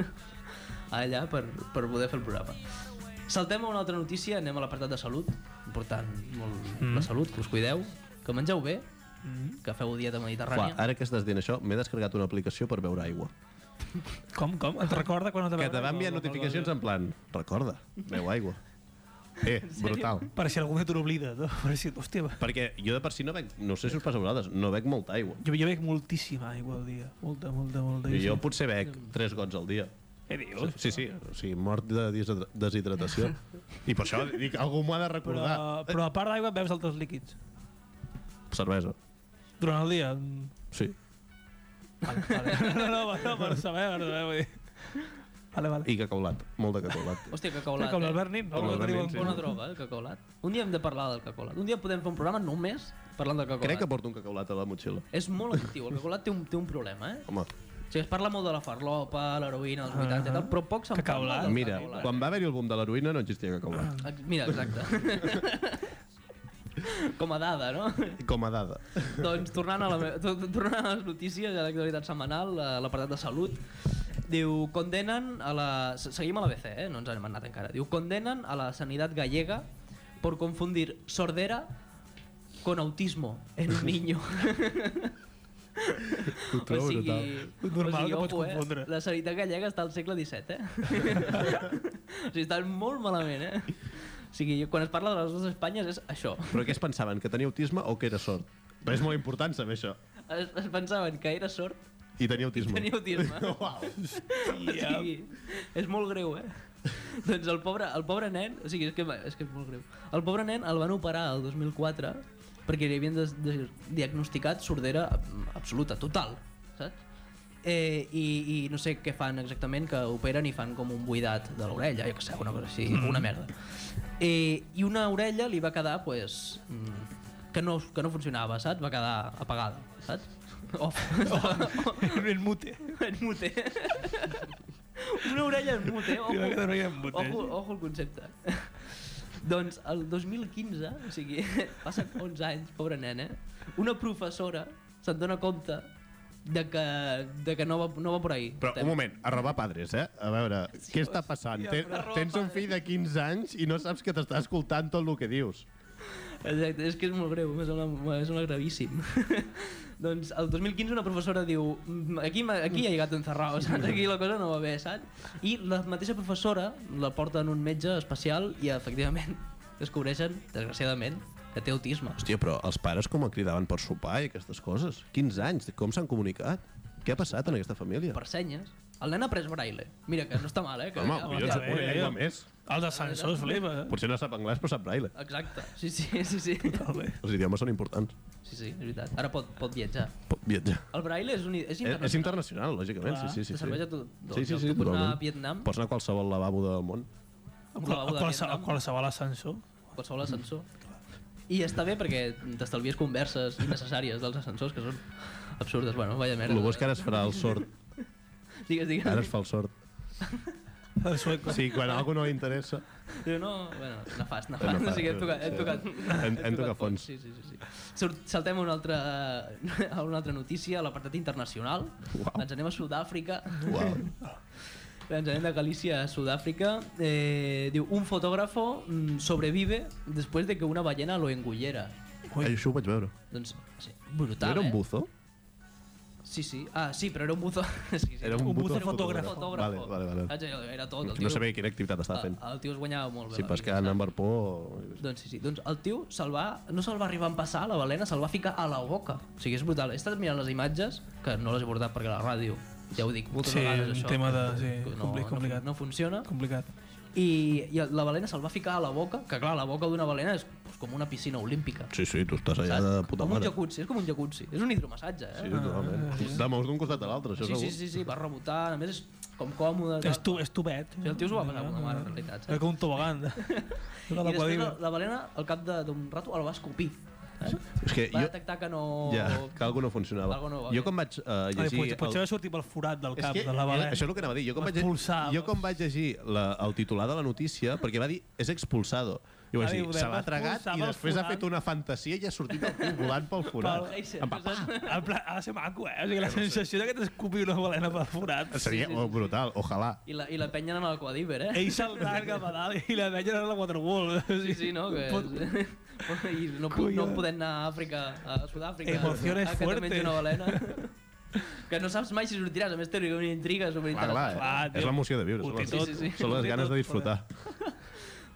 Speaker 3: Allà per, per poder fer el programa. Saltem a una altra notícia, anem a l'apartat de salut. Important, molt mm. la salut, que us cuideu, que mengeu bé, mm. que feu dieta
Speaker 1: Clar,
Speaker 3: mediterrània.
Speaker 1: ara que estàs dient això, m'he descarregat una aplicació per beure aigua.
Speaker 2: Com, com? Et recorda quan no te
Speaker 1: Que
Speaker 2: veuen?
Speaker 1: te va enviar
Speaker 2: No, no, no,
Speaker 1: notificacions
Speaker 2: no.
Speaker 1: en plan, recorda, beu
Speaker 2: [laughs]
Speaker 1: aigua. Eh, brutal.
Speaker 2: Per si algú te l'oblida. no? Per si, hòstia, va.
Speaker 1: Perquè jo de per si no bec, no sé si us passa a vosaltres, no bec molta aigua.
Speaker 2: jo, jo bec moltíssima aigua al dia. Molta, molta, molta.
Speaker 1: I jo potser bec tres gots al dia.
Speaker 2: Què dius?
Speaker 1: Sí, sí, o sigui, mort de deshidra- deshidratació.
Speaker 2: [laughs]
Speaker 1: I per això dic, algú m'ho ha de
Speaker 2: Però,
Speaker 1: recordar.
Speaker 2: però a part d'aigua beus altres líquids.
Speaker 1: Cervesa,
Speaker 2: Durant el dia. mm,
Speaker 1: sí.
Speaker 2: Vale, vale.
Speaker 3: [laughs]
Speaker 2: No, no, no, no, per saber, per saber, vull dir. Vale, vale.
Speaker 1: I cacaulat, molt de cacaulat.
Speaker 3: Hòstia,
Speaker 2: I,
Speaker 3: cacaulat,
Speaker 2: com
Speaker 3: eh?
Speaker 2: l'Albert Nin, no?
Speaker 1: Com
Speaker 2: Que
Speaker 1: l'Albert
Speaker 2: diuen
Speaker 1: Nin, sí.
Speaker 2: bona
Speaker 3: Bona
Speaker 2: dro-
Speaker 3: droga, el cacaulat. Un dia hem de parlar del cacaulat. Un dia podem fer un programa només parlant del cacaulat.
Speaker 1: Crec que porto un cacaulat a la motxilla.
Speaker 3: És molt addictiu. El cacaulat té un, té un problema, eh?
Speaker 1: Home,
Speaker 3: O sigui, es parla molt de la farlopa, l'heroïna, els 80 i tal, però poc se'n parla
Speaker 2: Ah, Cacaulat.
Speaker 3: del
Speaker 1: mira,
Speaker 3: cacaulat.
Speaker 1: quan va haver-hi el boom de l'heroïna no existia cacaulat.
Speaker 3: Ex- Mira, exacte. [laughs] Com a dada, no? [laughs]
Speaker 2: Ah.
Speaker 1: Com a dada.
Speaker 3: doncs tornant a, la, me- to- to- tornant a les notícies i a l'actualitat setmanal, a l'apartat de salut, diu, condenen a la... se- Seguim a la BC, eh? no ens n'hem anat encara. Diu, condenen a la sanitat gallega por confundir sordera con autismo en un niño.
Speaker 1: Ho trobo
Speaker 3: o sigui,
Speaker 1: brutal.
Speaker 2: Normal que
Speaker 3: ojo,
Speaker 2: pots confondre.
Speaker 3: Eh? La sanitat gallega està al segle
Speaker 2: [laughs]
Speaker 3: XVII, eh? o sigui, estan molt malament, eh? O sigui, quan es parla de les dues Espanyes és això.
Speaker 1: Però què es pensaven, que tenia autisme o que era sord? Però és molt important saber això.
Speaker 3: Es, es pensaven que era sort
Speaker 1: I tenia autisme.
Speaker 3: tenir
Speaker 1: [laughs]
Speaker 3: autisme.
Speaker 1: Oh, Uau.
Speaker 3: O sigui, és molt greu, eh? [laughs] doncs el pobre, el pobre nen, o sigui, és que, és que és molt greu. El pobre nen el van operar el 2004 perquè li havien des, des, diagnosticat sordera ab- absoluta, total, saps? Eh, i, I no sé què fan exactament, que operen i fan com un buidat de l'orella, jo què sé, una cosa així, una merda. Eh, I una orella li va quedar, pues, mm, que, no, que no funcionava, saps? [laughs] Va quedar apagada, saps? Off.
Speaker 2: El mute.
Speaker 3: en mute. [laughs] Una orella en mute, ojo.
Speaker 2: Una orella en mute.
Speaker 3: Ojo, ojo el concepte. [laughs] doncs el 2015, o sigui, [laughs] passen 11 anys, pobra nena, una professora se'n dona compte de que, de que no va, no va por ahí.
Speaker 1: Però un moment, arrobar padres, eh? A veure, què està passant?
Speaker 2: hòstia,
Speaker 1: Ten,
Speaker 2: però arroba
Speaker 1: tens un fill de 15 anys i no saps que t'està escoltant tot el que dius.
Speaker 3: Exacte, és que és molt greu, em sembla, em sembla gravíssim. [laughs] doncs el 2015 una professora diu "Mm, aquí, m'ha- aquí hi ha llegat encerrado, saps? Aquí la cosa no va bé, saps? I la mateixa professora la porta en un metge especial i efectivament [laughs] descobreixen, desgraciadament, que té autisme.
Speaker 1: Hòstia, però els pares com el cridaven per sopar i aquestes coses? 15 anys, com s'han comunicat? Què ha passat en aquesta família?
Speaker 3: Per senyes. El nen ha pres braille. Mira, que no està mal, eh? Que,
Speaker 1: Home,
Speaker 3: que-
Speaker 1: collons,
Speaker 2: ja,
Speaker 1: una
Speaker 2: ja,
Speaker 1: llengua
Speaker 2: ja.
Speaker 1: més.
Speaker 2: Els ascensors, flipa. eh?
Speaker 1: Potser no sap anglès, però sap braille.
Speaker 3: Exacte, sí, sí, sí, sí.
Speaker 2: Vale.
Speaker 1: Els idiomes són importants.
Speaker 3: Sí, sí, és veritat. Ara pot, pot viatjar.
Speaker 1: Pot viatjar.
Speaker 3: El braille és, un, és
Speaker 1: És, és
Speaker 3: internacional.
Speaker 1: internacional, lògicament, sí, sí. sí,
Speaker 3: Te serveix a tot.
Speaker 1: Sí, sí, sí,
Speaker 3: tu pots anar a
Speaker 1: totalment.
Speaker 3: Vietnam,
Speaker 1: Pots anar a qualsevol lavabo del món.
Speaker 2: A
Speaker 3: Un lavabo de
Speaker 2: qualse- a
Speaker 3: Vietnam.
Speaker 2: qualsevol [laughs] ascensor.
Speaker 3: qualsevol ascensor. I està bé perquè t'estalvies converses innecessàries dels ascensors, que són absurdes. Bueno, vaya merda.
Speaker 1: El bo és que ara es farà el sort.
Speaker 3: Digues, digues.
Speaker 1: Ara es fa el sort.
Speaker 2: El sueco.
Speaker 1: Sí, quan a algú no li interessa...
Speaker 3: Diu, no, bueno, nefast, nefast.
Speaker 1: Nefast, eh.
Speaker 3: nefast. O sigui, hem tocat...
Speaker 1: sí.
Speaker 3: Hem tocat,
Speaker 1: Hem- hem tocat fons.
Speaker 3: Sí, sí, sí. sí. Surt, saltem a una altra, a una altra notícia, a l'apartat internacional.
Speaker 1: Uau.
Speaker 3: Ens anem a Sud-àfrica.
Speaker 1: Uau.
Speaker 3: Ens anem de Galícia a Sud-àfrica. Eh, diu, un fotògrafo mm, sobrevive després de que una ballena lo engullera.
Speaker 1: Ai, això ho vaig veure.
Speaker 3: Doncs, sí, brutal,
Speaker 1: No era un
Speaker 3: eh?
Speaker 1: buzo?
Speaker 3: Sí, sí. Ah, sí, però era un buzo... [laughs] sí, sí.
Speaker 1: Era
Speaker 2: Un buzo
Speaker 1: buzó
Speaker 2: fotògrafo.
Speaker 3: fotògraf.
Speaker 1: Vale, vale, vale.
Speaker 3: Era tot. El tio,
Speaker 1: No sabia quina activitat estava fent.
Speaker 3: El, el tio es guanyava molt bé.
Speaker 1: Si
Speaker 3: la
Speaker 1: pas
Speaker 3: vida,
Speaker 1: que anant
Speaker 3: saps?
Speaker 1: per por...
Speaker 3: Doncs sí, sí. Doncs el tio se'l va, no se'l va arribar a empassar, la balena se'l va ficar a la boca. O sigui, és brutal. He estat mirant les imatges, que no les he portat perquè la ràdio, ja ho dic moltes
Speaker 2: Sí,
Speaker 3: vegades,
Speaker 2: un
Speaker 3: això.
Speaker 2: tema de- sí,
Speaker 3: no,
Speaker 2: compli-
Speaker 3: no,
Speaker 2: complicat.
Speaker 3: No, funciona.
Speaker 2: Complicat.
Speaker 3: I, I la balena se'l va ficar a la boca, que clar, la boca d'una balena és doncs, com una piscina olímpica.
Speaker 1: Sí, sí, tu estàs allà
Speaker 3: saps?
Speaker 1: de puta
Speaker 3: com un
Speaker 1: mare.
Speaker 3: jacuzzi, és com un jacuzzi. És un hidromassatge, eh?
Speaker 1: Sí, totalment. Ah. De mous d'un costat a l'altre, això
Speaker 3: sí, sí,
Speaker 1: segur.
Speaker 3: sí, sí, va rebotar, a més és com còmode. tal.
Speaker 2: És, tu, és tubet.
Speaker 3: Sí, el tio s'ho va passar com a mare, en realitat, saps?
Speaker 2: Era com un
Speaker 3: [laughs]
Speaker 2: tobogan. de-
Speaker 3: I
Speaker 2: de la
Speaker 3: després la,
Speaker 2: quadrilla.
Speaker 3: la balena, al cap de- d'un rato, el va escopir. Eh?
Speaker 1: És que
Speaker 3: Va
Speaker 1: jo...
Speaker 3: detectar que no...
Speaker 1: Ja, que algú no funcionava.
Speaker 3: Algo no va
Speaker 1: Jo
Speaker 3: bé.
Speaker 1: quan vaig eh,
Speaker 2: Ai,
Speaker 1: llegir...
Speaker 2: pot- Potser
Speaker 1: el-
Speaker 2: va sortir pel forat del
Speaker 1: És
Speaker 2: cap
Speaker 1: que
Speaker 2: de la balena.
Speaker 1: Això és el que anava a dir. Jo com vaig,
Speaker 2: Expulsado.
Speaker 1: jo com vaig llegir la, el titular de la notícia, perquè va dir, és expulsado. I vaig
Speaker 2: Va dir,
Speaker 1: dir,
Speaker 2: ho
Speaker 1: se
Speaker 2: vam
Speaker 1: l'ha tragat
Speaker 2: expulsar
Speaker 1: i
Speaker 2: del
Speaker 1: després ha
Speaker 2: forat.
Speaker 1: fet una fantasia i ha sortit el cul volant pel forat.
Speaker 3: Pel-
Speaker 1: En papà.
Speaker 2: En plan, ha de ser maco, eh? O sigui, la sensació de que t'escupi una balena pel forat.
Speaker 1: Seria oh, brutal, ojalà.
Speaker 3: I la, I la penya en el quadíver, eh?
Speaker 2: Ell saltant cap a dalt i la veia en la Waterworld.
Speaker 3: Sí, sí, no? Que...
Speaker 2: Pot-
Speaker 3: [laughs] I no, pu- no podem anar a Àfrica, a Sud-àfrica.
Speaker 2: Emociones
Speaker 3: a que te mengi
Speaker 2: fuertes.
Speaker 3: una balena. [laughs] que no saps mai si sortiràs, a més té una intriga
Speaker 1: Clar,
Speaker 3: superinteressant.
Speaker 1: clar,
Speaker 2: Clar,
Speaker 1: eh?
Speaker 2: tio.
Speaker 1: és l'emoció de viure.
Speaker 2: Ho
Speaker 1: Són
Speaker 2: té
Speaker 1: les,
Speaker 2: tot.
Speaker 3: Sí, sí, sí.
Speaker 1: són
Speaker 3: Ho
Speaker 1: les
Speaker 3: té
Speaker 1: ganes
Speaker 3: tot,
Speaker 1: de disfrutar.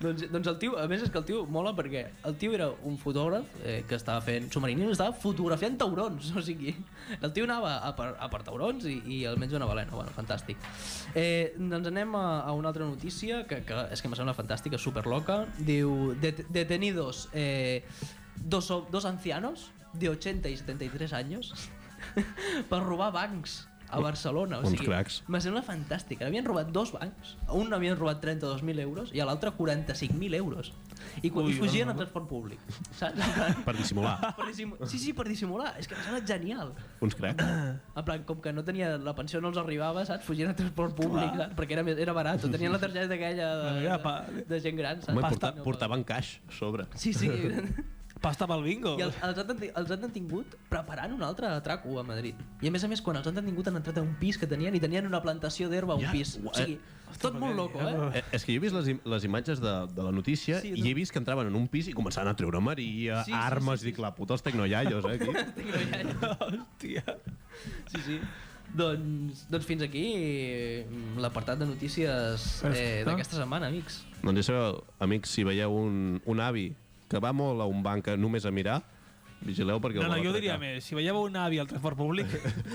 Speaker 3: Doncs, doncs el tio, a més és que el tio mola perquè el tio era un fotògraf eh, que estava fent submarininos, estava fotografiant taurons, [laughs] o sigui, el tio anava a per, a per taurons i, i almenys una balena, bueno, fantàstic. Eh, doncs anem a, a una altra notícia que, que és que em sembla fantàstica, superloca, diu, "Det- detenidos eh, dos, ho- dos ancianos de 80 y 73 años [laughs] per robar bancs a Barcelona. O
Speaker 1: Uns
Speaker 3: sigui,
Speaker 1: cracs.
Speaker 3: me sembla fantàstic. Havien robat dos bancs. A un havien robat 32.000 euros i a l'altre 45.000 euros. I, Ui,
Speaker 2: Ui,
Speaker 3: i fugien
Speaker 2: bueno.
Speaker 3: en transport públic. Saps? En plan,
Speaker 1: Per dissimular.
Speaker 3: per dissimu- sí, sí, per dissimular. És que em sembla genial.
Speaker 1: Uns cracs.
Speaker 3: En plan, com que no tenia, la pensió no els arribava, saps? Fugien en transport públic, saps? Perquè era, més- era barat. O tenien la targeta aquella
Speaker 2: Bueno,
Speaker 3: de,
Speaker 2: ja, pa-
Speaker 3: de, de gent gran, saps?
Speaker 1: Home,
Speaker 3: Pasta,
Speaker 1: porta,
Speaker 3: no,
Speaker 1: portaven caix a sobre.
Speaker 3: Sí, sí.
Speaker 2: Pasta pel bingo.
Speaker 3: I els, els, han, deten- els han detingut preparant un altre atraco a Madrid. I a més a més, quan els han detingut han entrat a un pis que tenien i tenien una plantació d'herba a un
Speaker 1: Ja,
Speaker 3: pis.
Speaker 1: ua-
Speaker 3: O sigui, tot molt loco, eh?
Speaker 1: Eh, és que jo he vist les, im- les imatges de, de la notícia
Speaker 3: Sí,
Speaker 1: i he vist que entraven en un pis i començaven a treure Maria,
Speaker 3: Sí, sí,
Speaker 1: armes, dic, la puta, els tecnoiaios, eh, aquí.
Speaker 2: Hòstia.
Speaker 3: Sí, sí. Doncs, doncs fins aquí mm, l'apartat de notícies eh,
Speaker 2: Perfecte.
Speaker 3: d'aquesta setmana, amics.
Speaker 1: Doncs ja sabeu, amics, si veieu un, un avi que va molt a un banc a- només a mirar, vigileu perquè
Speaker 2: No,
Speaker 1: el
Speaker 2: no,
Speaker 1: vol
Speaker 2: jo diria
Speaker 1: atracar.
Speaker 2: més. Si veieu un avi al transport
Speaker 1: [laughs]
Speaker 2: públic,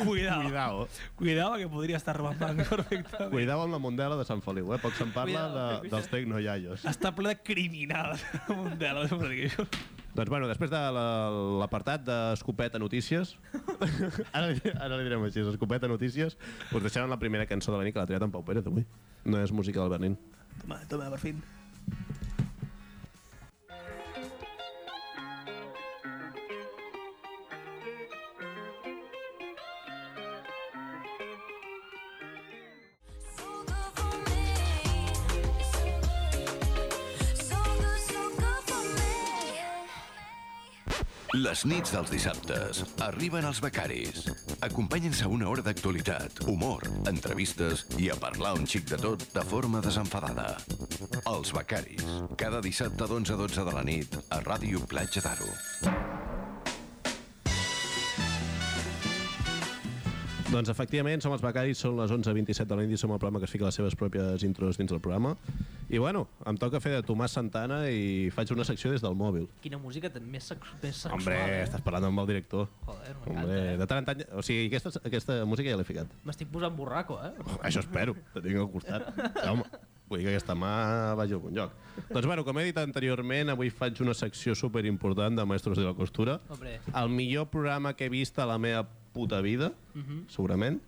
Speaker 2: cuidao.
Speaker 1: Cuidao.
Speaker 2: Cuidao, que podria estar robant banc perfectament.
Speaker 1: Cuidao amb la Mondela de Sant Feliu, eh? Poc se'n parla
Speaker 3: Cuidao,
Speaker 1: de, dels tecnoiaios.
Speaker 2: Està ple de criminals [laughs] eh? a Mondela. de Madrid.
Speaker 1: doncs, bueno, després de la- l'apartat d'Escopeta
Speaker 2: [laughs]
Speaker 1: Notícies, ara, li- ara li direm així, Escopeta Notícies, us deixaran la primera cançó de la nit que l'ha triat en Pau Pérez avui. No és música del Bernin.
Speaker 2: Toma, toma, per fin.
Speaker 4: Les nits dels dissabtes arriben els becaris. Acompanyen-se a una hora d'actualitat, humor, entrevistes i a parlar un xic de tot de forma desenfadada. Els becaris. Cada dissabte d'11 a 12 de la nit a Ràdio Platja d'Aro.
Speaker 1: Doncs efectivament, som els becaris, són les 11.27 de la nit i som el programa que es fica les seves pròpies intros dins del programa. I bueno, em toca fer de Tomàs Santana i faig una secció des del mòbil.
Speaker 3: Quina música tan més, sex més sexual.
Speaker 1: Hombre,
Speaker 3: eh?
Speaker 1: estàs parlant amb el director.
Speaker 3: Joder,
Speaker 1: Hombre,
Speaker 3: m'encanta. eh?
Speaker 1: de tant en tant... O sigui, aquesta, aquesta música ja l'he ficat.
Speaker 3: M'estic posant borraco, eh?
Speaker 1: Això espero, te tinc al costat. Ja, home, vull dir que aquesta mà vagi a algun lloc. Doncs bueno, com he dit anteriorment, avui faig una secció superimportant de Maestros de la Costura.
Speaker 3: Hombre.
Speaker 1: El millor programa que he vist a la meva puta vida, segurament.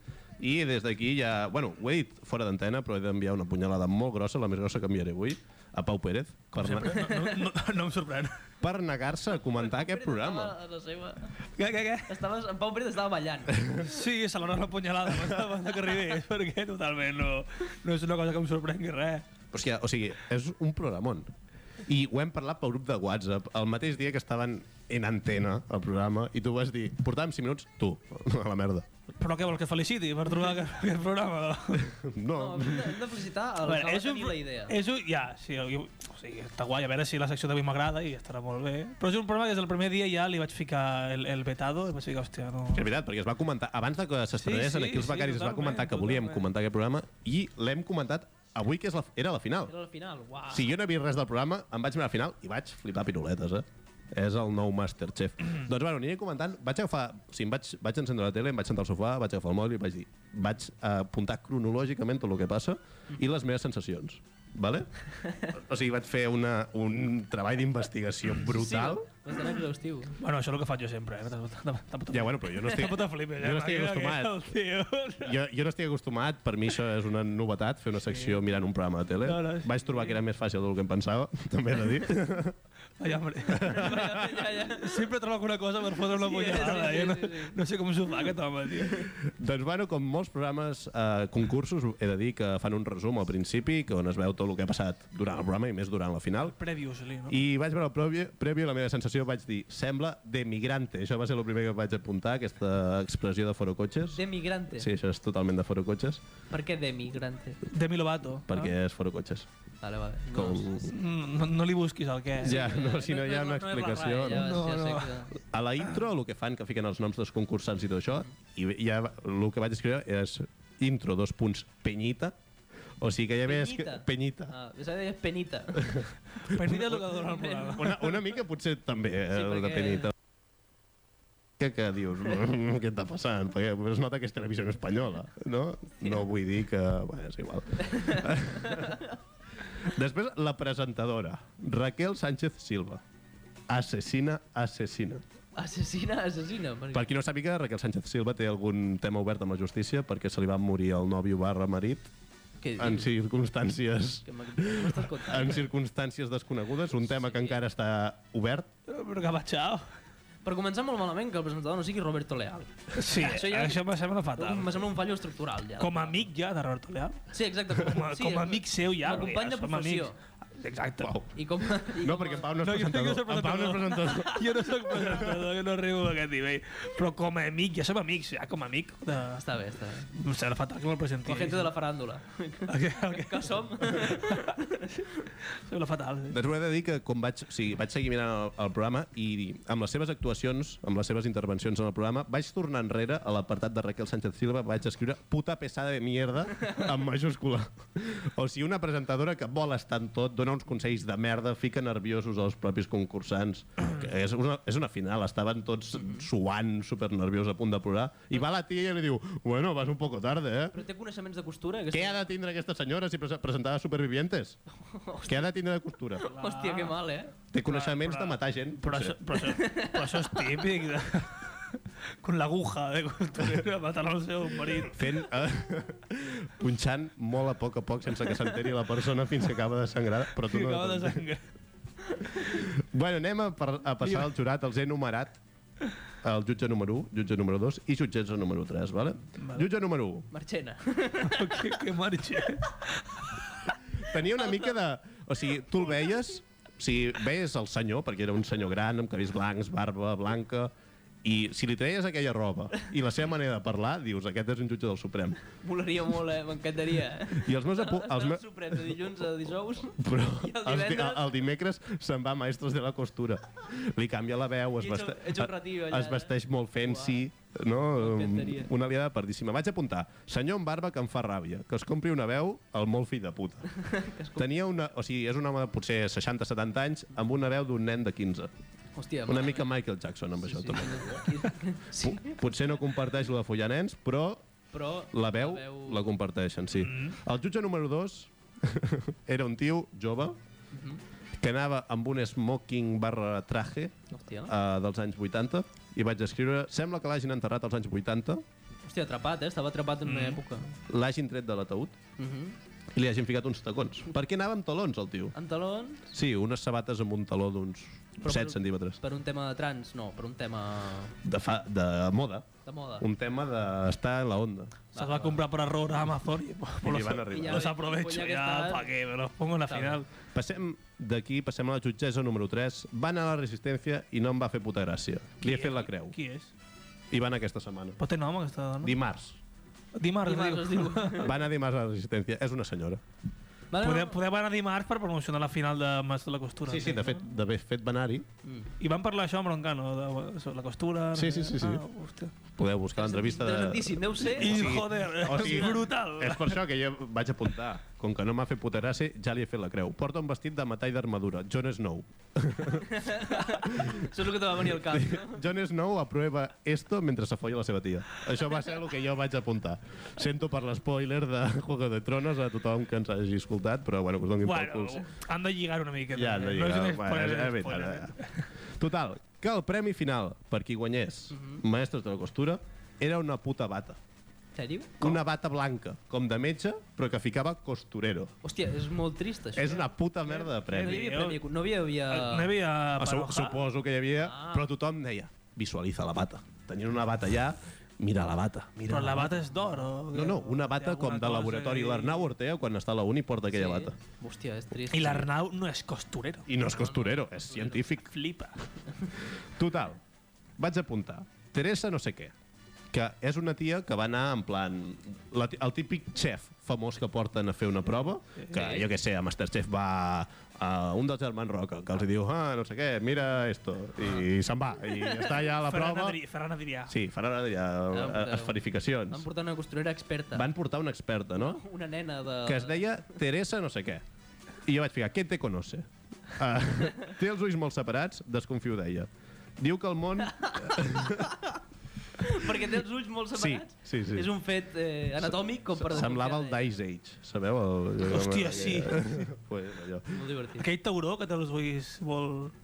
Speaker 1: I des d'aquí ja... Bueno, ho he dit fora d'antena, però he d'enviar una punyalada molt grossa, la més grossa que enviaré avui, a Pau Pérez, per, na
Speaker 2: No, no, no em sorprèn.
Speaker 1: per negar-se a comentar aquest programa.
Speaker 3: Estava a la seva...
Speaker 2: Què, què, què?
Speaker 3: Estaves, en Pau Pérez estava
Speaker 2: [laughs]
Speaker 3: ballant.
Speaker 2: Sí, se l'hora la punyalada abans de que arribés, [laughs] perquè totalment no, no és una cosa que em sorprengui res.
Speaker 1: Però és que, o sigui, és un programon. I ho hem parlat pel grup de WhatsApp el mateix dia que estaven en antena el programa i tu vas dir, portàvem 5 minuts, tu, [laughs] a la merda.
Speaker 2: Però què vol que feliciti per trobar aquest, aquest programa?
Speaker 3: No,
Speaker 1: No,
Speaker 3: hem de, hem de felicitar el que va tenir
Speaker 2: pro-
Speaker 3: la idea.
Speaker 2: És un, ja, sí, jo, o sigui, està guai, a veure si la secció d'avui m'agrada i estarà molt bé. Però és un programa que des del primer dia ja li vaig ficar el, el vetado i vaig dir, hòstia, no...
Speaker 1: és veritat, perquè es va comentar, abans de que s'estrenés
Speaker 2: Sí, sí,
Speaker 1: en aquí els
Speaker 2: sí,
Speaker 1: becaris es va
Speaker 2: totalment,
Speaker 1: comentar que volíem
Speaker 2: totalment.
Speaker 1: comentar aquest programa i l'hem comentat avui, que és la, era la final.
Speaker 3: Era el final, uau.
Speaker 1: Si jo no he vist res del programa, em vaig mirar al final i vaig flipar piruletes, eh? És el nou Masterchef.
Speaker 2: [clears throat]
Speaker 1: doncs, bueno, aniré comentant. Vaig agafar... O sigui, em vaig, vaig encendre la tele, em vaig sentar al sofà, vaig agafar el mòbil i vaig dir... Vaig eh, apuntar cronològicament tot el que passa i les meves sensacions.
Speaker 2: [laughs]
Speaker 1: Vale? o sigui, vaig fer una, un treball d'investigació brutal.
Speaker 3: Sí, bastant exhaustiu.
Speaker 2: Bueno, això és el que faig jo sempre, eh? Tampoc- tampoc- tampoc-
Speaker 1: Ja, bueno, però
Speaker 2: [laughs]
Speaker 1: jo no estic...
Speaker 2: Tampoc te flipes, eh?
Speaker 1: jo no estic
Speaker 2: Perquè
Speaker 1: acostumat.
Speaker 2: El tio...
Speaker 1: Jo, jo no estic acostumat, per mi això és una novetat, fer una secció mirant un programa de tele.
Speaker 2: No, no, sí.
Speaker 1: Vaig trobar que era més fàcil del que em pensava, [laughs] també he de dir.
Speaker 3: [laughs]
Speaker 2: Allà, [laughs] hombre.
Speaker 3: ja, ja, ja.
Speaker 2: Sempre troba alguna cosa per fotre una
Speaker 3: Sí,
Speaker 2: punyalada.
Speaker 3: sí, sí,
Speaker 2: jo no,
Speaker 3: sí, sí.
Speaker 2: no sé com s'ho fa aquest home, tio.
Speaker 1: Doncs bueno, com molts programes, eh, concursos, he de dir que fan un resum al principi, que on es veu tot el que ha passat durant el programa i més durant la final.
Speaker 2: Previously, no?
Speaker 1: I vaig veure el prèvio, prèvio i la meva sensació vaig dir, sembla de migrante. Això va ser el primer que vaig apuntar, aquesta expressió de foro cotxes.
Speaker 3: De migrante.
Speaker 1: Sí, això és totalment de foro cotxes,
Speaker 3: Per què de migrante?
Speaker 2: Demi Lovato. Mm,
Speaker 1: perquè és foro cotxes.
Speaker 3: Vale, vale. Ah. No,
Speaker 1: Com...
Speaker 2: No, no li busquis el què.
Speaker 1: Ja, no, si no hi ha una
Speaker 3: no és la
Speaker 1: explicació...
Speaker 3: RAE, ja,
Speaker 1: no?
Speaker 3: no,
Speaker 2: No,
Speaker 3: ja
Speaker 2: no.
Speaker 3: sé que...
Speaker 1: A la intro, el que fan, que fiquen els noms dels concursants i tot això, i ja el que vaig escriure és intro, dos punts, penyita, o sigui que ja veus que...
Speaker 3: Penyita?
Speaker 1: Penyita.
Speaker 3: Ah, s'ha de dir
Speaker 2: [laughs]
Speaker 3: penita.
Speaker 2: Penita el que dona el programa.
Speaker 1: Una, una mica potser també, eh,
Speaker 3: Sí,
Speaker 1: sí,
Speaker 3: perquè-
Speaker 1: de penita. Que, que dius, [laughs] "Mm, què està passant? Perquè es nota que és televisió espanyola, no? No vull dir que... Bueno, és
Speaker 3: [laughs]
Speaker 1: igual. Després, la presentadora, Raquel Sánchez Silva. Assassina, assassina.
Speaker 3: Assassina, assassina. Per...
Speaker 1: Per qui no sàpiga, Raquel Sánchez Silva té algun tema obert amb la justícia perquè se li va morir el nòvio barra marit
Speaker 3: Què dius?
Speaker 1: en circumstàncies
Speaker 3: Que m'ha- m'estàs contant.
Speaker 1: en circumstàncies desconegudes, un tema que encara està obert.
Speaker 2: Però que va, xao.
Speaker 3: Per començar molt malament que el presentador no sigui Roberto Leal.
Speaker 2: Sí,
Speaker 3: Això
Speaker 2: això,
Speaker 3: ja-
Speaker 2: ja... això em sembla fatal.
Speaker 3: Em sembla un fallo estructural, ja.
Speaker 2: Com a amic ja de Roberto Leal.
Speaker 3: Sí, exacte. Com,
Speaker 2: Com a,
Speaker 3: sí,
Speaker 2: com a amic seu ja.
Speaker 3: Com a
Speaker 2: perquè
Speaker 3: company
Speaker 2: ja
Speaker 3: de
Speaker 2: som
Speaker 3: professió.
Speaker 2: amics. Exacte.
Speaker 1: Uau.
Speaker 3: I com... I
Speaker 1: No,
Speaker 3: com
Speaker 1: perquè en
Speaker 3: a-
Speaker 1: Pau no és
Speaker 2: No, jo crec
Speaker 1: presentador.
Speaker 2: que és el
Speaker 1: En Pau no és presentador.
Speaker 2: Jo no sóc presentador, jo no arribo a aquest nivell. Però com a amic, ja som amics, ja com a amic. De...
Speaker 3: Està bé, està bé.
Speaker 2: Em sembla fatal que me'l presenti.
Speaker 3: La gent de la faràndula.
Speaker 2: [laughs] Okay, okay.
Speaker 3: Que som?
Speaker 2: Sembla fatal. sí.
Speaker 1: Després he Doncs de dir que com vaig, o sigui, vaig seguir mirant el, el programa i amb les seves actuacions, amb les seves intervencions en el programa, vaig tornar enrere a l'apartat de Raquel Sánchez Silva, vaig escriure puta pesada de mierda en majúscula. O sigui, una presentadora que vol estar en tot, dona uns consells de merda, fica nerviosos als propis concursants. Que és, una, és una final, estaven tots suant, supernerviosos, a punt de plorar, i va la tia i li diu, bueno, vas un poco tarde, eh?
Speaker 3: Però té coneixements de costura? Que
Speaker 1: Què ha de tindre aquesta senyora si prese- presentava Supervivientes? Què ha de tindre de costura?
Speaker 3: Hòstia, que mal, eh?
Speaker 1: Té coneixements de matar gent.
Speaker 2: Però,
Speaker 1: potser.
Speaker 2: això, però, això, però això és típic. De... [laughs] Con l'aguja de costurera matant el seu marit.
Speaker 1: fent, eh, [laughs] punxant molt a poc a poc sense que s'enteri la persona fins que acaba de sangrar. Però tu
Speaker 2: Que
Speaker 1: no
Speaker 2: acaba de sangrar.
Speaker 1: Bueno, anem a, par a passar al jurat, els he enumerat. El jutge número 1, jutge número 2 i jutgessa número 3, vale? vale. Jutge número 1.
Speaker 3: Marchena.
Speaker 2: [laughs] que, que marxa.
Speaker 1: Tenia una mica de... O sigui, tu el veies si veies el senyor, perquè era un senyor gran, amb cabells blancs, barba blanca, i si li treies aquella roba i la seva manera de parlar, dius, aquest és un jutge del Suprem.
Speaker 3: Molaria molt, eh? M'encantaria. eh?
Speaker 1: I els meus... apu-
Speaker 3: Estan
Speaker 1: Els
Speaker 3: al
Speaker 1: meus
Speaker 3: Suprem de dilluns a dijous.
Speaker 1: [laughs] però
Speaker 3: I el
Speaker 1: els di-
Speaker 3: divendres?
Speaker 1: el dimecres se'n va a Maestros de la Costura. Li canvia la veu, es,
Speaker 3: I ets un-
Speaker 1: veste,
Speaker 3: ets un ratillo allà,
Speaker 1: es
Speaker 3: eh?
Speaker 1: vesteix molt fancy, no? Um,
Speaker 3: M'encantaria.
Speaker 1: Una aliada perdíssima. Vaig apuntar, senyor amb barba que em fa ràbia, que es compri una veu al molt fill de
Speaker 3: [laughs]
Speaker 1: puta. Tenia una... O sigui, és un home de potser 60-70 anys amb una veu d'un nen de 15.
Speaker 3: Hòstia,
Speaker 1: Una
Speaker 3: mare
Speaker 1: mica Michael Jackson amb això, també. [laughs]
Speaker 3: meva. Sí,
Speaker 1: Po- Potser no comparteix lo de follar nens, però
Speaker 3: però...
Speaker 1: la veu la comparteixen, sí.
Speaker 3: Mm-hmm.
Speaker 1: El jutge número 2 [laughs] era un tio jove
Speaker 3: Mm-hmm.
Speaker 1: que anava amb un smoking barra traje
Speaker 3: Hòstia,
Speaker 1: uh, dels anys 80 i vaig escriure, sembla que l'hagin enterrat als anys 80,
Speaker 3: hòstia, atrapat, eh? Estava atrapat en una
Speaker 1: Mm-hmm.
Speaker 3: època.
Speaker 1: l'hagin tret de l'ataúd Mm-hmm.
Speaker 3: Mhm.
Speaker 1: i li hagin ficat uns tacons. Per què anava amb talons, el tio?
Speaker 3: En talons,
Speaker 1: Sí, unes sabates amb un taló d'uns
Speaker 3: Però
Speaker 1: 7
Speaker 3: per-
Speaker 1: centímetres.
Speaker 3: per un tema de trans, no, per un tema
Speaker 1: De, fa, de moda.
Speaker 3: de moda.
Speaker 1: Un tema d'estar en la onda.
Speaker 2: Se'ls va comprar por error a Amazon y pues,
Speaker 1: I li
Speaker 2: los,
Speaker 1: van arribar.
Speaker 2: los aprovecho
Speaker 3: Pues ya
Speaker 2: ya,
Speaker 3: que estás-
Speaker 2: para que me los pongo en la
Speaker 3: Está
Speaker 2: final.
Speaker 1: Passem d'aquí, passem a la jutgessa número 3. Va anar a la resistència i no em va fer puta gràcia. Li he fet la creu.
Speaker 2: Qui és?
Speaker 1: I van aquesta setmana.
Speaker 2: Pot té nom aquesta dona?
Speaker 1: Dimarts.
Speaker 2: Dimarts,
Speaker 3: Dimarts es
Speaker 2: diu. [laughs]
Speaker 3: diu.
Speaker 1: Va anar dimarts a la resistència. És una senyora.
Speaker 3: Vale, no?
Speaker 2: Podem, podem anar dimarts per promocionar la final de Mas de la Costura.
Speaker 1: Sí, sí, de fet, d'haver fet va anar-hi.
Speaker 2: I van parlar això amb Broncano, de sobre la costura... no
Speaker 1: Sí,
Speaker 2: sé
Speaker 1: sí,
Speaker 2: què.
Speaker 1: sí, sí.
Speaker 2: Ah, hòstia.
Speaker 1: Podeu buscar l'entrevista de...
Speaker 3: Interessantíssim, deu ser...
Speaker 2: I, joder,
Speaker 1: o sigui,
Speaker 2: brutal.
Speaker 1: És per això que jo vaig apuntar. Com que no m'ha fet puta gràcia, ja li he fet la creu. Porta un vestit de metall d'armadura. Jon Snow.
Speaker 3: Això és el que te va venir al cap, no?
Speaker 1: Jon Snow aprueba esto mentre se folla la seva tia. Això va ser el que jo vaig apuntar. Sento per l'espoiler de Juego de Tronos a tothom que ens hagi escoltat, però bueno, que us donin pel
Speaker 2: Bueno,
Speaker 1: cul.
Speaker 2: han de lligar una miqueta. eh?
Speaker 1: Ja, no,
Speaker 2: no,
Speaker 1: lligava.
Speaker 2: és un
Speaker 1: bueno,
Speaker 2: spoiler,
Speaker 1: és- és
Speaker 2: spoiler.
Speaker 1: veritat, eh? Total, que el premi final per qui guanyés
Speaker 2: Mhm.
Speaker 1: Maestros de la Costura era una puta bata.
Speaker 3: En [laughs] sèrio?
Speaker 1: Una bata blanca, com de metge, però que ficava costurero.
Speaker 3: Hòstia, és molt trist, això.
Speaker 1: És una puta merda de
Speaker 3: No hi
Speaker 1: premi.
Speaker 3: havia premi, no hi havia...
Speaker 2: No hi havia...
Speaker 1: Ah,
Speaker 2: per
Speaker 1: su-
Speaker 2: bajar?
Speaker 1: Suposo que hi havia,
Speaker 2: Ah.
Speaker 1: però tothom deia, visualitza la bata. Tenint una bata allà, mira la bata. Mira
Speaker 2: Però la bata és d'or, o...
Speaker 1: No, no, una
Speaker 2: Hi ha
Speaker 1: bata com
Speaker 2: alguna
Speaker 1: de
Speaker 2: cosa
Speaker 1: laboratori.
Speaker 2: que-
Speaker 1: L'Arnau Ortega, quan està a la uni, porta aquella bata.
Speaker 3: Hòstia, és trist.
Speaker 2: I l'Arnau no és costurero.
Speaker 1: I no és costurero, és científic.
Speaker 2: Flipa.
Speaker 1: Total, vaig apuntar. Teresa no sé què, que és una tia que va anar en plan... La, ti- el típic xef famós que porten a fer una prova, que jo què sé, a Masterchef va a un dels germans Roca, que els hi diu, ah, no sé què, mira esto, i se'n va, i està allà a la
Speaker 2: Ferran,
Speaker 1: prova.
Speaker 2: Adri Ferran Adrià.
Speaker 1: Sí, faran ara ja eh,
Speaker 3: porteu. Van
Speaker 1: esferificacions.
Speaker 3: portar una costurera experta.
Speaker 1: Van portar una experta, no?
Speaker 3: Una nena de...
Speaker 1: que es deia Teresa no sé què. I jo vaig ficar, què te conoce? Uh, té els ulls molt separats, desconfio d'ella. Diu que el món...
Speaker 3: Perquè té els ulls molt separats.
Speaker 1: Sí, sí, sí.
Speaker 3: És un fet eh, anatòmic com per...
Speaker 1: Semblava el
Speaker 3: desconfiar
Speaker 1: Dice Age, sabeu? El...
Speaker 2: Hòstia, sí.
Speaker 1: [laughs] pues, allò.
Speaker 3: d'ell. Molt divertit.
Speaker 2: Aquell tauró que té els ulls
Speaker 1: [laughs]
Speaker 2: molt...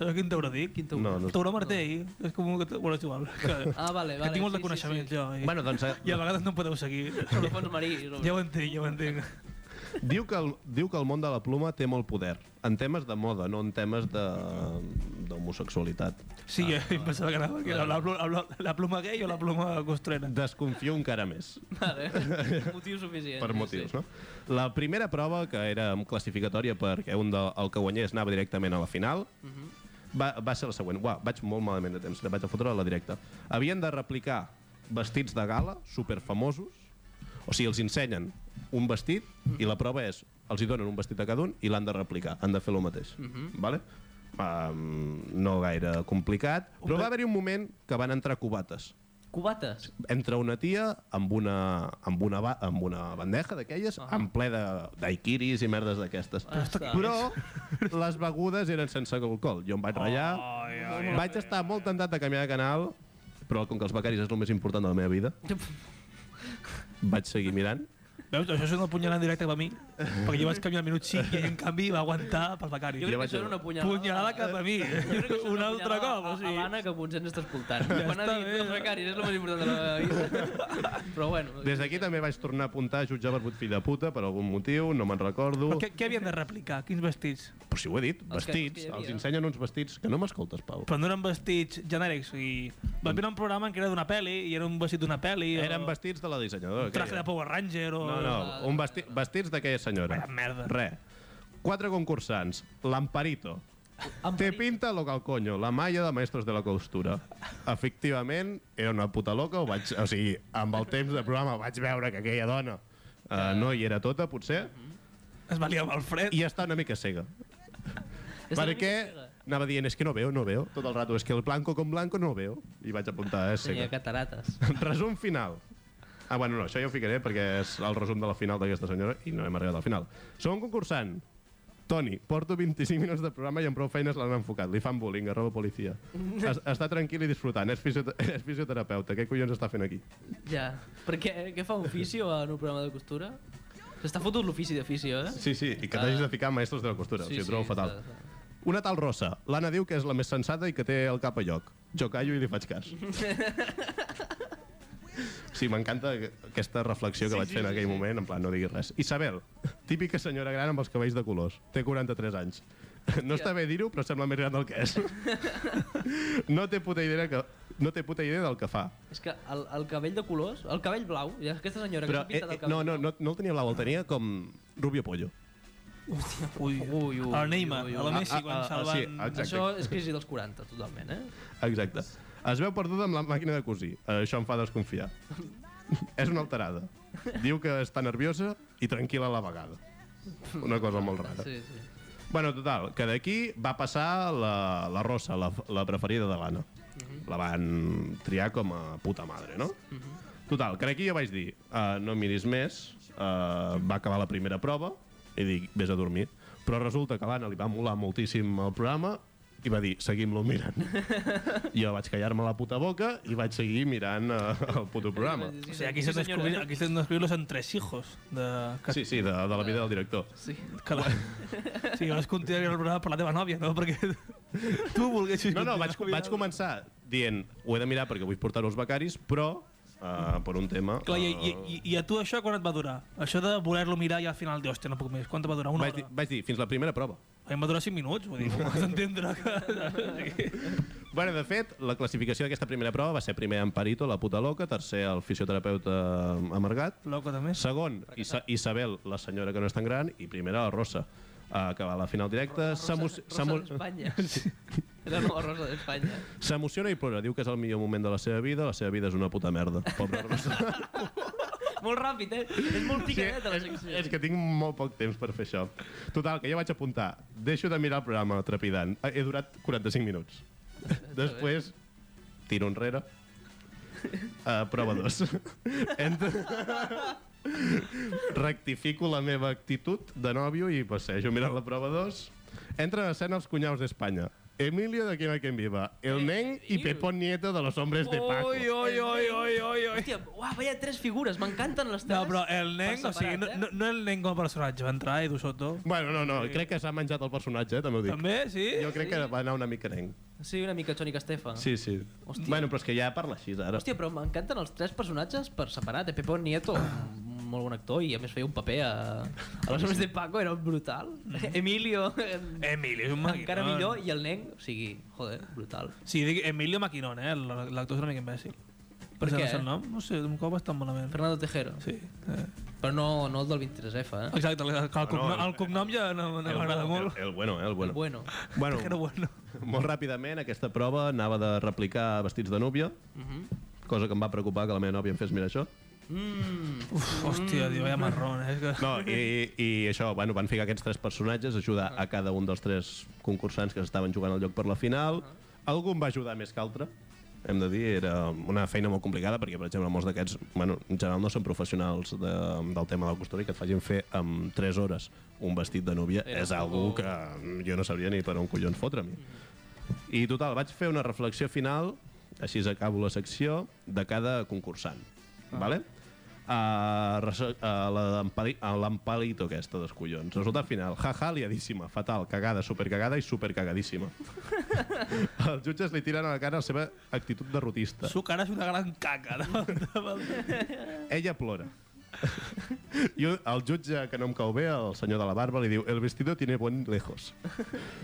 Speaker 2: Sabeu quin tauró dic? Quin
Speaker 1: tauró? No, no sé.
Speaker 2: Tauró martell. És com un que... t- Bueno, és
Speaker 3: [laughs]
Speaker 2: igual. Que,
Speaker 3: Ah, vale,
Speaker 2: que
Speaker 3: vale.
Speaker 2: tinc molt
Speaker 3: sí,
Speaker 2: de coneixement,
Speaker 3: sí, sí.
Speaker 2: jo. I,
Speaker 1: Bueno, doncs,
Speaker 2: I
Speaker 1: eh,
Speaker 2: a vegades no em podeu seguir.
Speaker 3: Sobre fons marí.
Speaker 2: ja ho entenc, ja ho entenc.
Speaker 1: [laughs] diu, que el, diu que el món de la pluma té molt poder, en temes de moda, no en temes de d'homosexualitat.
Speaker 2: Sí, ah, em pensava que anava que era la, plu- la, la pluma gay o la pluma costurera.
Speaker 1: Desconfio encara més. [laughs]
Speaker 3: Vale. Motiu suficient.
Speaker 1: per
Speaker 3: sí,
Speaker 1: motius,
Speaker 3: sí.
Speaker 1: no? La primera prova, que era amb classificatòria perquè un del el que guanyés anava directament a la final, va, va ser la següent. Uau, vaig molt malament de temps, vaig a fotre a la directa. Havien de replicar vestits de gala, superfamosos, o sigui, els ensenyen un vestit i la prova és, els hi donen un vestit a cada un i l'han de replicar, han de fer el mateix. vale? Um, no gaire complicat, però va haver-hi un moment que van entrar cubates
Speaker 3: Cubates.
Speaker 1: entra una tia amb una, amb una, ba- amb una bandeja d'aquelles, ah. en ple de- daiquiris i merdes d'aquestes.
Speaker 3: Ostres.
Speaker 1: Però les begudes eren sense alcohol. Jo em vaig ratllar,
Speaker 2: Ai,
Speaker 1: vaig estar molt tentat de canviar de canal, però com que els becaris és el més important de la meva vida, vaig seguir mirant.
Speaker 2: Veus, això és una punyalada en directe cap a mi, perquè jo vaig canviar al minut 5 i en canvi va aguantar pel becari.
Speaker 3: Jo crec
Speaker 1: vaig
Speaker 3: que això era
Speaker 1: veure.
Speaker 3: una punyalada.
Speaker 2: Punyalada cap a mi, un altre cop, o
Speaker 3: A
Speaker 2: sigui...
Speaker 3: l'Anna, que potser ens està escoltant.
Speaker 2: Ja
Speaker 3: Quan ha
Speaker 2: està
Speaker 3: dit
Speaker 2: bé.
Speaker 3: els becaris, és el més important de la
Speaker 1: [laughs]
Speaker 3: meva vida. Però bueno,
Speaker 1: Des d'aquí també vaig tornar a apuntar a jutjar barbut fill de puta per algun motiu, no me'n recordo.
Speaker 2: Però què, què havien de replicar? Quins vestits?
Speaker 1: Però si ho he dit,
Speaker 3: Els que- els que
Speaker 1: vestits,
Speaker 3: hi havia.
Speaker 1: els ensenyen uns vestits que no m'escoltes, Pau.
Speaker 2: Però no eren vestits genèrics, o sigui... Va haver un programa en què era d'una pel·li i era un vestit d'una pel·li... o
Speaker 1: Eren vestits de la dissenyadora.
Speaker 2: Un traje
Speaker 1: aquella.
Speaker 2: de Power Ranger o...
Speaker 1: No, no, un vesti vestits d'aquella senyora.
Speaker 2: Vaya merda.
Speaker 1: Re. Quatre concursants. L'Amparito. Te pinta lo cal coño, la malla de maestros de la costura. Efectivament, era una puta loca, ho vaig, o sigui, amb el temps del programa vaig veure que aquella dona uh, no hi era tota, potser,
Speaker 2: Es valia amb el fred.
Speaker 1: i està una mica cega.
Speaker 3: Està una
Speaker 1: Perquè
Speaker 3: mica cega.
Speaker 1: anava dient, és que no veo, no veo, tot el rato, és que el blanco con blanco no veo. I vaig apuntar, és
Speaker 3: Tenia
Speaker 1: cega.
Speaker 3: catarates.
Speaker 1: [laughs] Resum final. Ah, bueno, no, això ja ho ficaré perquè és el resum de la final d'aquesta senyora i no hem arribat al final. Segon concursant. Toni, porto 25 minuts de programa i amb prou feines l'han enfocat. Li fan bullying, arroba policia. Es, està tranquil i disfrutant. És, fisiota [laughs] és fisioterapeuta. Què collons està fent aquí?
Speaker 3: Ja. Per què, què fa un fisio en un programa de costura? S'està fotut l'ofici de fisio, eh?
Speaker 1: Sí, sí, i que t'hagis de ficar amb maestros de la costura. Ah. Sí, o sigui, sí, trobo fatal.
Speaker 3: està- està.
Speaker 1: Una tal rossa. L'Anna diu que és la més sensata i que té el cap a lloc. Jo callo i li faig [laughs] cas. Sí, m'encanta aquesta reflexió que sí, vaig fer en aquell sí, moment, en plan, no diguis res. Isabel, típica senyora gran amb els cabells de colors. Té 43 anys. No està bé dir-ho, però sembla més gran del que [laughs] és. No té puta idea, que, no té puta idea del que fa.
Speaker 3: És que el, el cabell de colors, el cabell blau, i aquesta senyora
Speaker 1: Però, eh,
Speaker 3: que s'ha pintat
Speaker 1: eh,
Speaker 3: el cabell
Speaker 1: no, no, no, no el tenia blau, el tenia com rubio pollo.
Speaker 2: Ui,
Speaker 3: Ui, ui,
Speaker 2: el Neymar,
Speaker 3: ui, ui.
Speaker 2: a la
Speaker 1: Ah,
Speaker 2: Messi,
Speaker 1: ah,
Speaker 2: quan
Speaker 1: ah,
Speaker 2: se'l
Speaker 1: sí,
Speaker 2: van...
Speaker 1: exacte.
Speaker 3: Això és crisi dels 40, totalment, eh?
Speaker 1: Exacte. Es veu perduda amb la màquina de cosir. Eh, Això em fa desconfiar. és una alterada. Diu que està nerviosa i tranquil·la a la vegada. Una cosa molt rara.
Speaker 3: Sí, sí.
Speaker 1: Bueno, total, que d'aquí va passar la, la Rosa, la, la preferida de l'Anna. La van triar com a puta madre, no? Total, que d'aquí ja vaig dir, uh, no miris més, uh, va acabar la primera prova i dic, vés a dormir. Però resulta que a l'Anna li va molar moltíssim el programa i va dir, seguim-lo mirant. jo vaig callar-me la puta boca i vaig seguir mirant uh, el puto programa.
Speaker 2: O sigui, aquí s'han descobrit, aquí s'han descobrit los entresijos de... Que,
Speaker 1: Sí, sí, de, de la vida del director.
Speaker 3: Sí.
Speaker 2: que la...
Speaker 1: [laughs]
Speaker 2: sí, vas continuar el programa per la teva nòvia, no? Perquè [laughs] tu volguessis...
Speaker 1: No,
Speaker 3: [laughs]
Speaker 1: no,
Speaker 2: continuar
Speaker 1: vaig, vaig
Speaker 2: mirant-lo.
Speaker 1: començar dient ho he de mirar perquè vull portar els becaris, però uh, per un tema...
Speaker 2: Clar,
Speaker 1: eh,
Speaker 2: i, i, i- i, a tu això quan et va durar? Això de voler-lo mirar i al final dir, hòstia, no puc més. Quant et va durar? Una
Speaker 1: vaig,
Speaker 2: hora?
Speaker 1: dir, vaig dir, fins la primera prova.
Speaker 2: A mi em va durar 5 minuts, vull dir, [laughs] com vas entendre que... [laughs]
Speaker 1: Bueno, de fet, la classificació d'aquesta primera prova va ser primer en Parito, la puta loca, tercer el fisioterapeuta eh, amargat,
Speaker 2: Loco, també.
Speaker 1: segon Isa Isabel, la senyora que no és tan gran, i primera la Rosa, eh, que va a la final directa. s'emo-
Speaker 3: Rosa,
Speaker 1: s'emo-
Speaker 3: Rosa d'Espanya.
Speaker 2: [laughs]
Speaker 3: Era la nova Rosa d'Espanya.
Speaker 1: S'emociona i plora, diu que és el millor moment de la seva vida, la seva vida és una puta merda. Pobra Rosa.
Speaker 3: molt ràpid, eh? És molt picadeta la secció.
Speaker 1: És que tinc molt poc temps per fer això. Total, que ja vaig apuntar. Deixo de mirar el programa trepidant. Eh, He durat 45 minuts. Després, tiro enrere. Uh, prova dos. Entro... [laughs] Rectifico la meva actitud de nòvio i passejo mirant la prova dos. Entra en escena els cunyaus d'Espanya. Emilio de Quien a Quien Viva, El Nen i Pepón Nieto de los Hombres de Paco.
Speaker 2: Ui, ui, ui, ui, ui, ui.
Speaker 3: Hòstia, uah, veia tres figures, m'encanten les tres.
Speaker 2: No, però el nen,
Speaker 3: Per
Speaker 2: o sigui, no,
Speaker 3: separat, eh?
Speaker 2: no, no el nen com a personatge, va entrar eh, Edu Soto.
Speaker 1: Bueno, no, no, crec que s'ha menjat el personatge, eh, també ho dic.
Speaker 2: També, sí?
Speaker 1: Jo crec que va anar una mica nenc.
Speaker 3: eh? Sí, una mica Toni Castefa.
Speaker 1: Sí, sí. Hòstia. Bueno, però és que ja parla així, ara.
Speaker 3: Hòstia, però m'encanten els tres personatges per separat. Eh? Pepón Nieto, un molt bon actor, i a més feia un paper a... A les homes de Paco, era brutal.
Speaker 2: Mm-hmm.
Speaker 3: Emilio,
Speaker 2: Emilio és un maquinón.
Speaker 3: encara millor, i el nen, o sigui, joder, brutal.
Speaker 2: Sí, dic Emilio Maquinón, eh? L- L'actor és una mica imbècil. Per
Speaker 3: què?
Speaker 2: què? No sé el nom? No sé, un cop va estar malament.
Speaker 3: Fernando Tejero.
Speaker 2: Sí. Eh.
Speaker 3: Però no, no el del 23F, eh?
Speaker 2: Exacte, el, el, cognom, el cognom ja no, no m'agrada molt.
Speaker 1: Ah, El, el bueno, eh, el bueno.
Speaker 3: Bueno,
Speaker 1: Bueno,
Speaker 2: Que era bueno.
Speaker 3: Mm.
Speaker 1: molt ràpidament, aquesta prova anava de replicar vestits de núvia,
Speaker 2: Mhm.
Speaker 1: cosa que em va preocupar que la meva nòvia em fes mirar això.
Speaker 2: Uf, hòstia, tio, vaya marrón, eh? És que...
Speaker 1: No, i, i això, bueno, van ficar aquests tres personatges, ajudar a cada un dels tres concursants que s'estaven jugant al lloc per la final. Algun va ajudar més que altre, hem de dir, era una feina molt complicada perquè, per exemple, molts d'aquests, bueno, en general no són professionals de, del tema de la costura i que et facin fer en 3 hores un vestit de núvia
Speaker 3: Era
Speaker 1: és algú
Speaker 3: com-
Speaker 1: que jo no sabria ni per on collons fotre a mi. I total, vaig fer una reflexió final, així acabo la secció, de cada concursant. Ah. Vale? Ah, A, a ah, l'empalito aquesta dels collons. Resultat final, jaja, liadíssima, fatal, cagada, supercagada i supercagadíssima. Els jutges li tiren a la cara la seva actitud derrotista.
Speaker 2: Su cara és una gran caca. No?
Speaker 1: [laughs] Ella plora. I el jutge que no em cau bé, el senyor de la barba, li diu el vestido tiene buen lejos.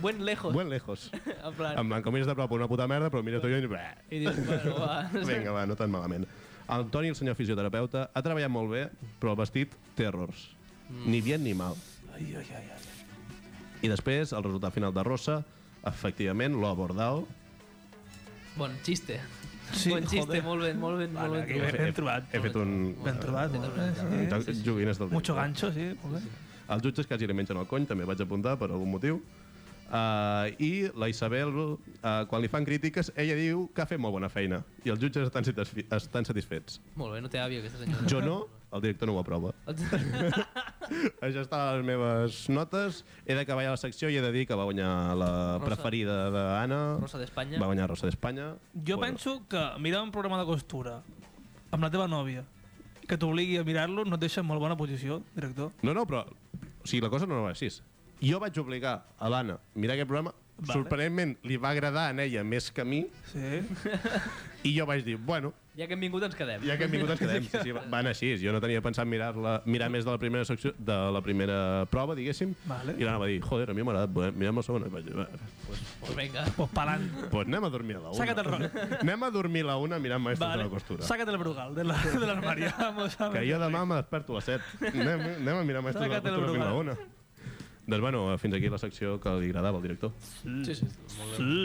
Speaker 3: buen lejos.
Speaker 1: Buen lejos.
Speaker 3: [laughs] En plan,
Speaker 1: En blanc, com mires de prop una puta merda, però mires tu i dius... "Bah".
Speaker 3: i dius,
Speaker 2: [laughs]
Speaker 3: bueno, va.
Speaker 1: Vinga, va, no tan malament. El Toni, el senyor fisioterapeuta, ha treballat molt bé, però el vestit té errors. Ni bien ni mal.
Speaker 2: Ai, ai, ai, ai.
Speaker 1: I després, el resultat final de Rossa, efectivament, lo ha abordado.
Speaker 3: Bon xiste.
Speaker 2: Sí,
Speaker 3: bon xiste,
Speaker 2: joder.
Speaker 3: molt ben, molt ben, molt
Speaker 2: Vale,
Speaker 3: ben.
Speaker 2: aquí
Speaker 3: trobat.
Speaker 2: ben, ben trobat.
Speaker 1: He fet un...
Speaker 2: Ben trobat,
Speaker 1: eh,
Speaker 2: molt bé,
Speaker 1: un joc-
Speaker 3: sí, sí, sí.
Speaker 1: Joguines del
Speaker 2: Mucho
Speaker 1: director.
Speaker 2: gancho, sí, molt bé.
Speaker 1: Els jutges quasi li mengen el cony, també vaig apuntar per algun motiu. Uh, I la Isabel, uh, quan li fan crítiques, ella diu que ha fet molt bona feina i els jutges estan, satisfi- estan satisfets.
Speaker 3: Molt bé, no té àvia aquesta senyora.
Speaker 1: Jo no, el director no ho aprova. Això estan les meves notes. He de cavallar la secció i he de dir que va guanyar la
Speaker 3: Rosa.
Speaker 1: preferida d'Anna.
Speaker 3: Rosa d'Espanya.
Speaker 1: Va guanyar Rosa d'Espanya.
Speaker 2: Jo bueno. penso que mirar un programa de costura amb la teva nòvia que t'obligui a mirar-lo no et deixa en molt bona posició, director.
Speaker 1: No, no, però... O sigui, la cosa no va així. Jo vaig obligar a l'Anna a mirar aquest programa.
Speaker 2: Vale.
Speaker 1: Vale. Sorprenentment, li va agradar a ella més que a mi.
Speaker 2: Sí.
Speaker 1: I jo vaig dir, bueno,
Speaker 3: Ja que hem vingut ens quedem.
Speaker 1: ja que hem vingut ens quedem. Sí, sí, va- va anar així. Jo no tenia pensat mirar, la, mirar més de la primera secció, de la primera prova, diguéssim.
Speaker 2: Vale.
Speaker 1: I l'Anna va dir, joder, a mi m'ha agradat, eh, mirem la segona. I vaig dir, "Va,
Speaker 3: Pues vinga.
Speaker 2: Pues palant.
Speaker 1: pues anem a dormir a la una.
Speaker 2: Saca't el roll.
Speaker 1: Anem a dormir a la una mirant Maestros
Speaker 2: Vale.
Speaker 1: de la Costura.
Speaker 2: Sácate el brugal de la- de l'armari. Vamos a
Speaker 1: Que
Speaker 2: ver.
Speaker 1: jo demà me desperto a les 7. Anem, anem a mirar Maestros de la
Speaker 2: Sácate el
Speaker 1: Costura fins a la
Speaker 2: brugal.
Speaker 1: una. Doncs bueno, fins aquí la secció que li agradava al director.
Speaker 2: Mm.
Speaker 3: Sí, sí, sí,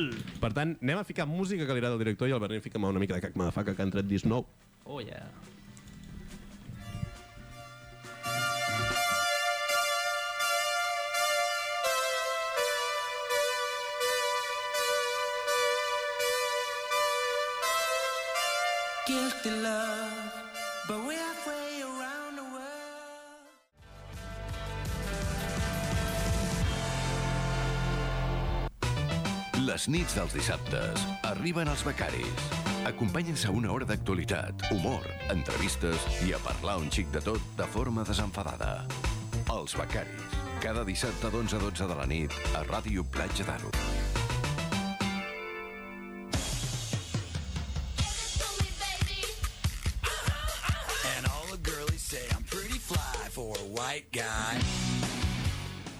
Speaker 3: molt bé.
Speaker 1: Per tant, anem a ficar música que li agrada al director i el Bernin fica una mica de cac madafaca que han tret disc nou.
Speaker 3: Oh, yeah.
Speaker 6: guilty love, but we're halfway around the world.
Speaker 4: Les nits dels dissabtes arriben els becaris. Acompanyen-se a una hora d'actualitat, humor, entrevistes i a parlar un xic de tot de forma desenfadada. Els becaris. Cada dissabte d'11 a 12 de la nit a Ràdio Platja d'Aro.
Speaker 6: And all the girlies say I'm pretty fly for a white guy.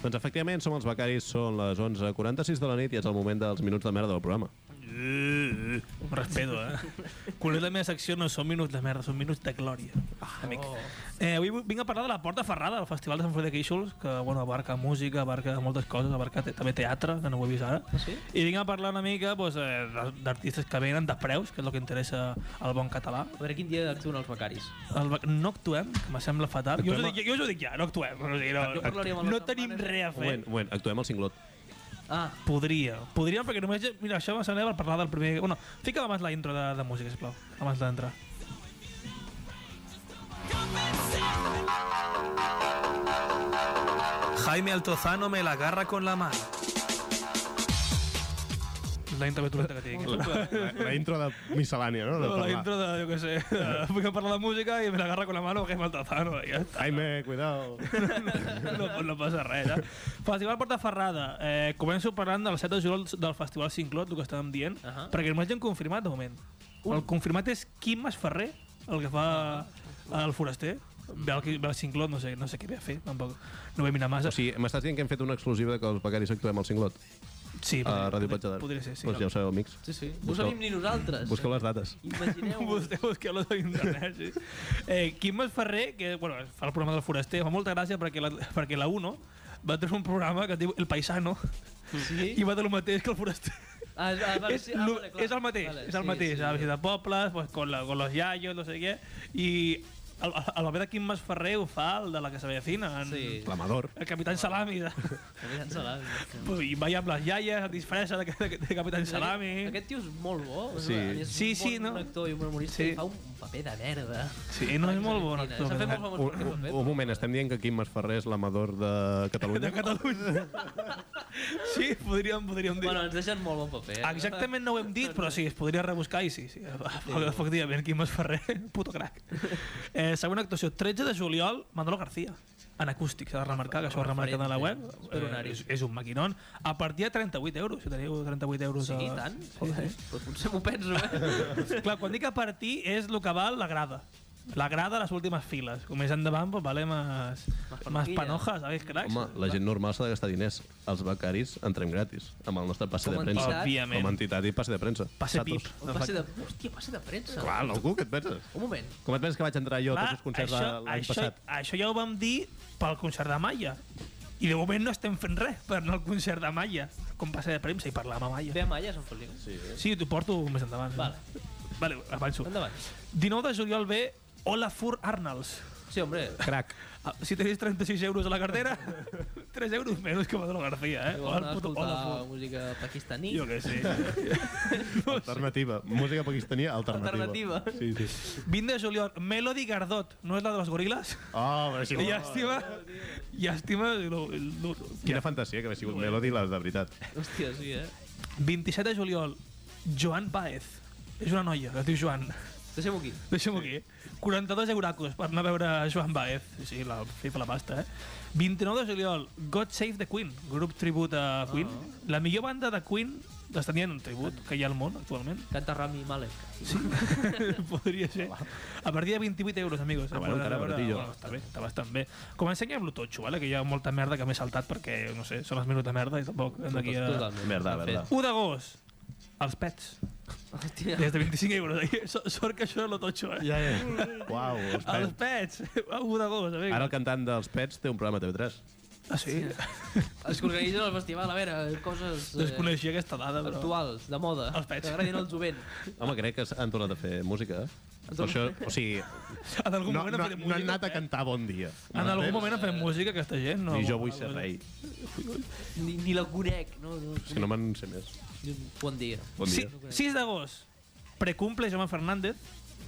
Speaker 1: Doncs efectivament, som els becaris, són les 11.46 de la nit i és el moment dels minuts de merda del programa.
Speaker 2: Eh, un respeto, eh? Quan és la meva secció no són minuts de merda, són minuts de glòria. Ah, amic.
Speaker 3: Oh.
Speaker 2: Eh, avui vu- vinc a parlar de la Porta Ferrada, del Festival de Sant Feliu de Guíxols, que bueno, abarca música, abarca moltes coses, abarca te també teatre, que no ho he vist ara.
Speaker 3: Ah, sí?
Speaker 2: I vinc a parlar una mica pues, eh, d- d'artistes que venen, de preus, que és el que interessa al bon català.
Speaker 3: A veure quin dia actuen els becaris.
Speaker 2: El, va- no actuem, que me sembla fatal. Jo us, ho
Speaker 1: Actuem a-
Speaker 2: dic, jo us ho dic ja, no actuem. O sigui,
Speaker 3: Jo
Speaker 2: no,
Speaker 3: parlaria amb
Speaker 2: no
Speaker 3: les
Speaker 2: tenim
Speaker 3: setmanes.
Speaker 2: res a
Speaker 1: Un
Speaker 2: fer.
Speaker 1: moment, un moment, actuem al cinglot.
Speaker 3: Ah,
Speaker 2: Podria. Podria, perquè només... Mira, això m'assembla per parlar del primer... Bueno, fica abans la intro de, de música, sisplau. Abans d'entrar. Jaime Altozano me la agarra con la mano. La intro que tu que tinc.
Speaker 1: La, la, la intro de miscel·lània, no? De
Speaker 2: No, la
Speaker 1: parlar.
Speaker 2: intro de, yo qué sé, [laughs] voy a parlar de música y me la agarra con la mano Jaime Altozano. Y ya está.
Speaker 1: Jaime, cuidao.
Speaker 2: [laughs] no, no passa res, eh? Festival Porta Ferrada. Eh, començo parlant del 7 de juliol del Festival Cinclot, el que estàvem dient, uh
Speaker 3: Ahà.
Speaker 2: -huh. perquè només hi han confirmat, de moment. Un. El confirmat és Quim Masferrer, el que fa el foraster. Ve el, ve el Cinclot, no sé, no sé què ve a fer, tampoc. No ve a mirar massa.
Speaker 1: O sigui, m'estàs dient que hem fet una exclusiva de que els becaris actuem al cinglot?
Speaker 2: sí,
Speaker 1: A Ràdio Platja
Speaker 2: podria,
Speaker 1: d'Aro.
Speaker 2: podria ser, sí.
Speaker 1: Doncs ja ho sabeu, amics.
Speaker 3: sí, sí. No
Speaker 1: Busqueu-
Speaker 3: sabíem ni nosaltres.
Speaker 1: Busqueu les dates.
Speaker 3: Imagineu-vos.
Speaker 2: [laughs] Vostè busqueu los a internet, sí. Eh, Quim Masferrer, que bueno, fa el programa del Foraster, fa molta gràcia perquè la, perquè la 1 va tenir un programa que es diu El Paisano i
Speaker 3: Sí?
Speaker 2: va del mateix que el Foraster.
Speaker 3: Ah, ah, vale,
Speaker 2: és,
Speaker 3: sí, ah,
Speaker 2: lo-
Speaker 3: vale, clar.
Speaker 2: és el mateix,
Speaker 3: Vale,
Speaker 2: és el
Speaker 3: sí,
Speaker 2: mateix.
Speaker 3: sí,
Speaker 2: a
Speaker 3: sí.
Speaker 2: visitar pobles, pues, con, la, con los yayos, no sé què, i el, el, el paper de Quim Masferrer ho fa el de la que se vecina, en,
Speaker 3: Sí.
Speaker 1: L'amador.
Speaker 2: el Capitán
Speaker 3: [laughs]
Speaker 2: Salami. De,
Speaker 3: Capitán Salami.
Speaker 2: pues, I va amb les iaies, es disfressa de, de, de Capitán Salami.
Speaker 3: Aquest, aquest tio és molt bo.
Speaker 1: Sí.
Speaker 3: És
Speaker 2: Sí,
Speaker 3: un
Speaker 2: sí,
Speaker 3: bon
Speaker 2: no?
Speaker 3: actor i un humorista
Speaker 2: Sí.
Speaker 3: sí. i fa un paper de merda.
Speaker 2: Sí, no és molt eh, bon.
Speaker 3: S'ha fet molt famós
Speaker 1: Un,
Speaker 3: per
Speaker 2: doncs
Speaker 3: aquest
Speaker 1: un,
Speaker 3: paper.
Speaker 1: un moment, estem dient que Quim Masferrer és l'amador de Catalunya?
Speaker 2: [laughs] De Catalunya.
Speaker 3: [laughs]
Speaker 2: sí, podríem, podríem dir.
Speaker 3: Bueno, ens deixen molt bon paper. eh?
Speaker 2: Exactament no ho hem dit, però sí, es podria rebuscar i sí, sí. [laughs] Efectivament, Quim Ferrer, [laughs] puto crac. Eh, següent actuació, 13 de juliol, Manolo García. En acústic, s'ha de remarcar, que això ho remarquen a la web. Eh,
Speaker 3: Referent, sí.
Speaker 2: és, és un maquinon. A partir de 38 euros, si teniu 38 euros...
Speaker 3: Sí,
Speaker 2: a-
Speaker 3: i tant. Sí,
Speaker 2: Joder.
Speaker 3: sí. Pues potser m'ho penso, eh?
Speaker 2: [laughs] Clar, quan dic a partir és el que val la grada. La grada a les últimes files. Com més endavant, pues, vale más, más
Speaker 3: forquilla.
Speaker 2: panojas, ¿sabéis, cracks?
Speaker 1: Home, la gent normal s'ha de gastar diners. Els becaris entrem gratis amb el nostre passe
Speaker 3: Com
Speaker 1: de premsa.
Speaker 3: entitat.
Speaker 2: Òbviament.
Speaker 1: Com a entitat i passe de premsa.
Speaker 2: Passe
Speaker 1: Satos.
Speaker 2: pip.
Speaker 3: Un passe de... Hòstia, passe de premsa.
Speaker 1: Clar, algú, què et penses?
Speaker 3: Un moment.
Speaker 1: Com et penses que vaig entrar jo a
Speaker 2: Clar,
Speaker 1: tots els concerts de
Speaker 2: això,
Speaker 1: l'any
Speaker 2: això,
Speaker 1: passat?
Speaker 2: Això ja ho vam dir pel concert de Maia. I de moment no estem fent res per anar al concert de Maia, com passa de premsa i parlar amb Maia.
Speaker 3: Ve a Malla, Sant Feliu. Sí.
Speaker 2: Sí, t'ho porto més endavant. eh?
Speaker 3: Vale.
Speaker 2: Vale, avanço.
Speaker 3: Endavant.
Speaker 2: 19 de juliol ve Olafur Arnalds.
Speaker 3: Sí,
Speaker 2: [laughs]
Speaker 3: hombre.
Speaker 1: Crac.
Speaker 2: Ah, Si tenéis 36 euros a la
Speaker 3: [laughs]
Speaker 2: cartera, 3 euros menos que Manolo García, eh?
Speaker 3: Si
Speaker 2: Hola,
Speaker 3: vols anar
Speaker 2: el
Speaker 3: a
Speaker 2: puto
Speaker 3: escoltar
Speaker 2: Olafur.
Speaker 3: música pakistaní.
Speaker 2: Jo què sé.
Speaker 1: Alternativa. Música pakistania alternativa.
Speaker 3: Alternativa.
Speaker 1: Sí, sí.
Speaker 2: 20 de juliol, Melody Gardot, no és la dels goril·les?
Speaker 1: Oh, però si no...
Speaker 2: Llàstima, llàstima... lo- lo-
Speaker 1: Quina fantasia que hagués sigut Melody, la de veritat.
Speaker 3: Hòstia, sí, eh?
Speaker 2: 27 de juliol, Joan Baez. És una noia, es diu Joan. [laughs]
Speaker 3: Deixem-ho aquí.
Speaker 2: Deixem-ho aquí. 42 euracos per anar a veure Joan Baez. Sí, la flipa la pasta, eh? 29 de juliol, God Save the Queen, grup tribut a Queen.
Speaker 1: Ah.
Speaker 2: La millor banda de Queen, l'estanien un tribut, que hi ha al món actualment.
Speaker 3: Canta Rami Malek.
Speaker 1: [laughs]
Speaker 2: Sí, [laughs] podria ser. A partir de 28 euros, amigos.
Speaker 1: Ah, bueno,
Speaker 2: Podran
Speaker 1: encara
Speaker 2: veure-
Speaker 1: baratillo.
Speaker 2: Bueno, està bé, està bastant bé. Comencem ja amb lo totxo, vale? que hi ha molta merda que m'he saltat perquè, no sé, són els minuts de merda i tampoc hem d'aquí a...
Speaker 3: Totalment.
Speaker 1: Merda,
Speaker 3: S'ha
Speaker 1: merda.
Speaker 3: fet.
Speaker 2: 1 d'agost, els pets.
Speaker 3: Hòstia.
Speaker 2: Des de 25 euros. aquí. So- [laughs] Sort que això és lo totxo, eh?
Speaker 1: Ja, ja. Uau, els
Speaker 2: Els
Speaker 1: pets.
Speaker 2: pets, [laughs] 1 d'agost, amic.
Speaker 1: Ara el cantant dels Pets té un programa a TV3.
Speaker 2: Ah, sí?
Speaker 3: Els que organitzen el festival, a veure, coses... eh,
Speaker 2: Desconeixia aquesta dada, però...
Speaker 3: actuals, de moda,
Speaker 2: Els pets.
Speaker 3: que agradin al jovent.
Speaker 1: Home, crec que han tornat a fer música. eh? Per això, o sigui,
Speaker 2: En algun
Speaker 1: no,
Speaker 2: moment
Speaker 1: no,
Speaker 2: han fet
Speaker 1: no han anat a
Speaker 2: eh?
Speaker 1: cantar Bon Dia.
Speaker 2: En algun moment han fet música, aquesta gent. No,
Speaker 1: I jo vull ser rei.
Speaker 3: Ni, ni la conec, no? no,
Speaker 1: És que no me'n sé més.
Speaker 3: Bon dia.
Speaker 1: Bon
Speaker 2: Sí,
Speaker 1: dia.
Speaker 2: 6 d'agost, precumple Jaume Fernández,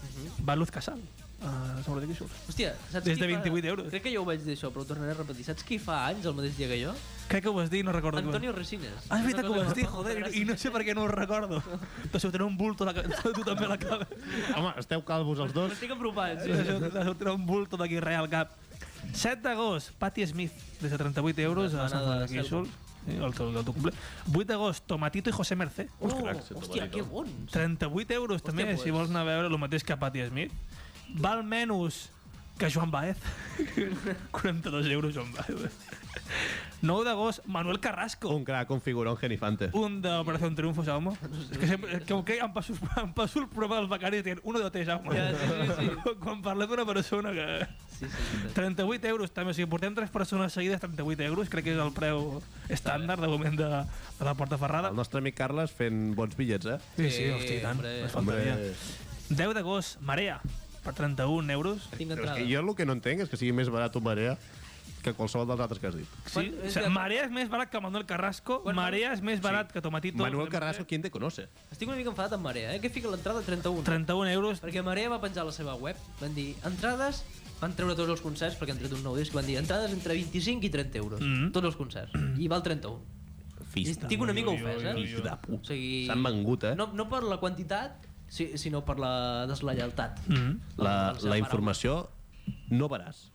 Speaker 1: Mhm.
Speaker 2: va Luz Casal. Uh, sobre d'aquí surt.
Speaker 3: Hòstia, saps
Speaker 2: Des
Speaker 3: qui
Speaker 2: de 28
Speaker 3: fa...
Speaker 2: euros.
Speaker 3: Crec que ja ho vaig dir això, però ho tornaré a repetir. Saps qui fa anys el mateix dia que jo?
Speaker 2: Crec que ho vas dir, no recordo.
Speaker 3: Antonio Resines.
Speaker 2: Ah, és veritat que ho
Speaker 3: Una
Speaker 2: vas
Speaker 3: cosa
Speaker 2: dir,
Speaker 3: fa
Speaker 2: joder,
Speaker 3: molta
Speaker 2: i no
Speaker 3: gràcia.
Speaker 2: sé per què no ho recordo. T'has sortirà un bulto, a la, ca- [laughs] tu també a la cap.
Speaker 1: Home, esteu calvos els dos?
Speaker 3: [laughs] M'estic apropant, sí.
Speaker 2: T'has sortirà un bulto d'aquí real cap. 7 d'agost, Patti Smith, des de 38 euros a
Speaker 3: Hermana de
Speaker 2: Sant Ferran de
Speaker 3: Selva.
Speaker 2: Guíxols. Sí, el, teu- el teu cumple. 8 d'agost, Tomatito i José Mercé.
Speaker 3: Oh,
Speaker 1: cracs, el
Speaker 3: hòstia,
Speaker 1: Tomatito.
Speaker 3: que bons.
Speaker 2: 38 euros també,
Speaker 3: Hòstia,
Speaker 2: si
Speaker 3: pues.
Speaker 2: vols anar a veure el mateix que Patti Smith. Val menys que Joan
Speaker 3: [laughs]
Speaker 2: Baez. 42 euros, Joan Baez. 9 d'agost, Manuel Carrasco.
Speaker 1: Un crac, un figurón genifante.
Speaker 2: Un d'Operación Triunfo, Jaume. És que sempre, és que, que em, passo, [laughs] em passo el programa dels becaris dient uno de té, Jaume.
Speaker 3: Ja, sí, sí,
Speaker 2: [laughs] Quan parlem d'una persona que...
Speaker 3: Sí, sí, sí.
Speaker 2: 38 euros també, o sigui, portem tres persones seguides 38 euros, crec que és el preu estàndard de moment de, de la Porta Ferrada.
Speaker 1: El nostre amic Carles fent bons bitllets, eh?
Speaker 2: Sí, sí, hòstia, i tant.
Speaker 3: Hombre.
Speaker 2: Només faltaria.
Speaker 1: Hombre,
Speaker 2: 10 d'agost, Marea, per 31 euros.
Speaker 3: Tinc
Speaker 1: Però és
Speaker 3: entrada.
Speaker 1: que jo el que no entenc és que sigui més barat un marea que qualsevol dels altres que has dit.
Speaker 2: Sí,
Speaker 3: Quan-
Speaker 2: o sigui,
Speaker 3: és-
Speaker 2: Marea és més barat que Manuel Carrasco,
Speaker 3: Quan-
Speaker 2: Marea és més barat que Tomatito.
Speaker 1: Manuel Carrasco, ¿quién te conoce?
Speaker 3: Estic una mica enfadat amb Marea, eh? Que fica l'entrada a 31.
Speaker 2: 31 euros.
Speaker 3: Perquè Marea va penjar a la seva web, van dir entrades, van treure tots els concerts, perquè han tret un nou disc, van dir entrades entre 25 i 30 euros,
Speaker 2: Mhm.
Speaker 3: tots els concerts, i val 31.
Speaker 1: Fista.
Speaker 3: Estic una mica
Speaker 2: Ui, ui,
Speaker 3: ofès, eh?
Speaker 2: ui, ui.
Speaker 1: Fill de puta.
Speaker 3: O sigui,
Speaker 1: S'han vengut, eh?
Speaker 3: No, no per la quantitat, si, sinó per la deslleialtat.
Speaker 2: Mm.
Speaker 1: La,
Speaker 3: La
Speaker 1: la
Speaker 3: seva mare.
Speaker 1: informació no veràs.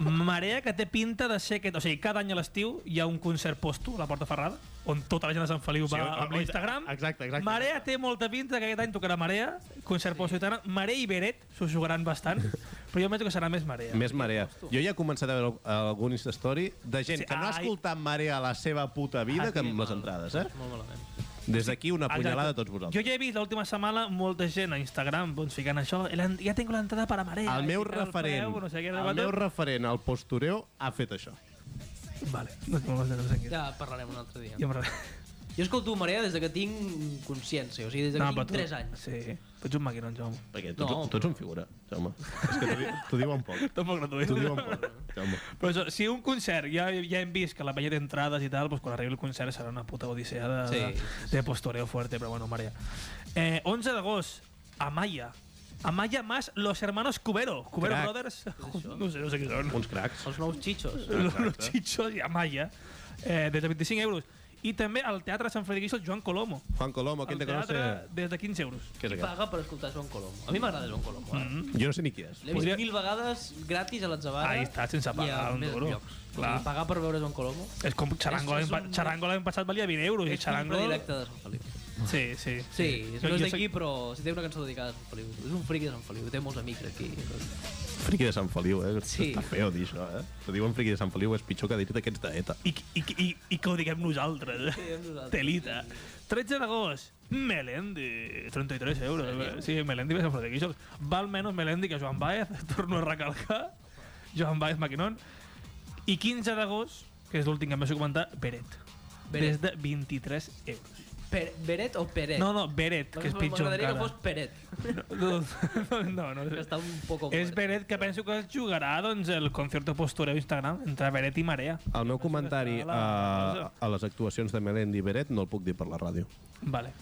Speaker 2: Marea que té pinta de ser aquest... O sigui, cada any a l'estiu hi ha un concert posto a la Porta Ferrada, on tota la gent de Sant Feliu va
Speaker 1: o-
Speaker 2: amb
Speaker 1: o-
Speaker 2: l'Instagram.
Speaker 1: exacte, exacte.
Speaker 2: Marea té molta pinta que aquest any tocarà Marea, concert posto i tant. Marea i Beret s'ho jugaran bastant, però jo penso que serà més Marea.
Speaker 1: Més marea. Jo ja he començat a veure algun Instastory de gent
Speaker 2: Sí,
Speaker 1: que no ha
Speaker 2: ai. Ah,
Speaker 1: escoltat marea a la seva puta vida que amb les entrades, eh?
Speaker 3: Molt malament.
Speaker 1: Des d'aquí una
Speaker 2: Exacte.
Speaker 1: punyalada a tots vosaltres.
Speaker 2: Jo ja he vist l'última setmana molta gent a Instagram doncs, ficant això, "El- ja tinc l'entrada per a Marea.
Speaker 1: El
Speaker 2: i
Speaker 1: meu
Speaker 2: ficant
Speaker 1: referent,
Speaker 2: preu, no sé què, no sé
Speaker 1: el meu
Speaker 2: quantos.
Speaker 1: referent al postureo ha fet això.
Speaker 2: Vale, no, no, no, no, no, no, no.
Speaker 3: Ja parlarem un altre dia.
Speaker 2: Ja em re-
Speaker 3: Jo escolto Marea des de que tinc consciència, o sigui, des de que
Speaker 2: però
Speaker 3: tinc 3 anys.
Speaker 2: Sí, tu ets un maquinó, Jaume.
Speaker 1: Perquè tu,
Speaker 3: No.
Speaker 1: no. tu ets un figura, Jaume. És que t'ho
Speaker 2: [laughs]
Speaker 1: di- t'ho diuen poc.
Speaker 2: Tampoc gratuït.
Speaker 1: T'ho diuen poc, Jaume.
Speaker 2: Però això, si un concert, ja, ja hem vist que la penya té entrades i tal, doncs quan arribi el concert serà una puta odissea de,
Speaker 3: Sí,
Speaker 2: de, de postureo fuerte, però bueno, marea. Eh, 11 d'agost, Amaya. Amaya más los hermanos Cubero. Cubero
Speaker 1: Crac.
Speaker 2: Brothers. No sé, no sé què són.
Speaker 1: Uns cracs.
Speaker 3: Els nous xitxos.
Speaker 2: Los, los
Speaker 3: eh?
Speaker 2: chichos i Amaya. Eh, des de 25 euros. I també al Teatre Sant Frederic el Joan Colomo.
Speaker 1: Juan Colomo, ¿quién te
Speaker 2: Al teatre
Speaker 1: conoce?
Speaker 2: des de 15 euros.
Speaker 1: Què és aquest?
Speaker 3: Paga per escoltar Joan Colomo. A mi m'agrada Joan Colomo, eh?
Speaker 1: Jo no sé ni qui és.
Speaker 3: L'he vist
Speaker 2: Mm-hmm. Podria-
Speaker 3: mil vegades gratis a l'Atzavara.
Speaker 2: Ahí està, sense
Speaker 3: i a
Speaker 2: pagar un
Speaker 3: més
Speaker 2: duro.
Speaker 3: llocs.
Speaker 2: Clar.
Speaker 3: O sigui, pagar per veure Joan Colomo
Speaker 2: És com
Speaker 3: És-
Speaker 2: Charango, l'any
Speaker 3: és
Speaker 2: pa-
Speaker 3: un-
Speaker 2: Charango l'any passat valia 20 euros. I
Speaker 3: és un
Speaker 2: Charango...
Speaker 3: predilecte de Sant Feliu.
Speaker 2: Sí, sí.
Speaker 3: Sí,
Speaker 2: Jo-
Speaker 3: no és
Speaker 2: jo sé-
Speaker 3: d'aquí, però si té una cançó dedicada a Sant Feliu. És un friqui de Sant Feliu, té molts amics aquí.
Speaker 1: Friqui de Sant Feliu, eh?
Speaker 3: Sí.
Speaker 1: Està feo dir això, eh? Te diuen friqui de Sant Feliu, és pitjor que dir-te que ets d'ETA.
Speaker 2: I, i, i, i que ho diguem nosaltres.
Speaker 3: Sí, amb nosaltres.
Speaker 2: Telita. 13 d'agost, Melendi. 33 euros. Sí, Melendi ve a Frontera Guixols. [laughs] Val menys Melendi que Joan Baez, torno a recalcar. Joan Baez, maquinón. I 15 d'agost, que és l'últim que em vaig comentar, Beret.
Speaker 3: Beret.
Speaker 2: Des de 23 euros.
Speaker 3: Per Beret o Peret?
Speaker 2: No, no, Beret, que és pitjor
Speaker 3: M'agradaria que
Speaker 2: encara.
Speaker 3: fos Peret,
Speaker 2: No, no, no.
Speaker 3: [laughs] que està un poc...
Speaker 2: És Beret que penso que es jugarà doncs, el concierto postureo Instagram entre Beret i Marea.
Speaker 1: El meu comentari
Speaker 2: la-
Speaker 1: a, a les actuacions de Melendi i Beret no el puc dir per la ràdio.
Speaker 2: Vale.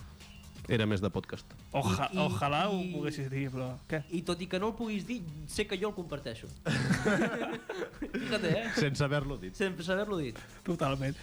Speaker 1: Era més de podcast.
Speaker 2: Oja,
Speaker 3: I- i-
Speaker 2: ojalà ho
Speaker 3: i-
Speaker 2: poguessis dir, però... Què?
Speaker 3: I tot i que no el puguis dir, sé que jo el
Speaker 2: [laughs]
Speaker 3: comparteixo. Fíjate, eh?
Speaker 1: Sense haver-lo dit.
Speaker 3: Sense saber-lo dit.
Speaker 2: Totalment.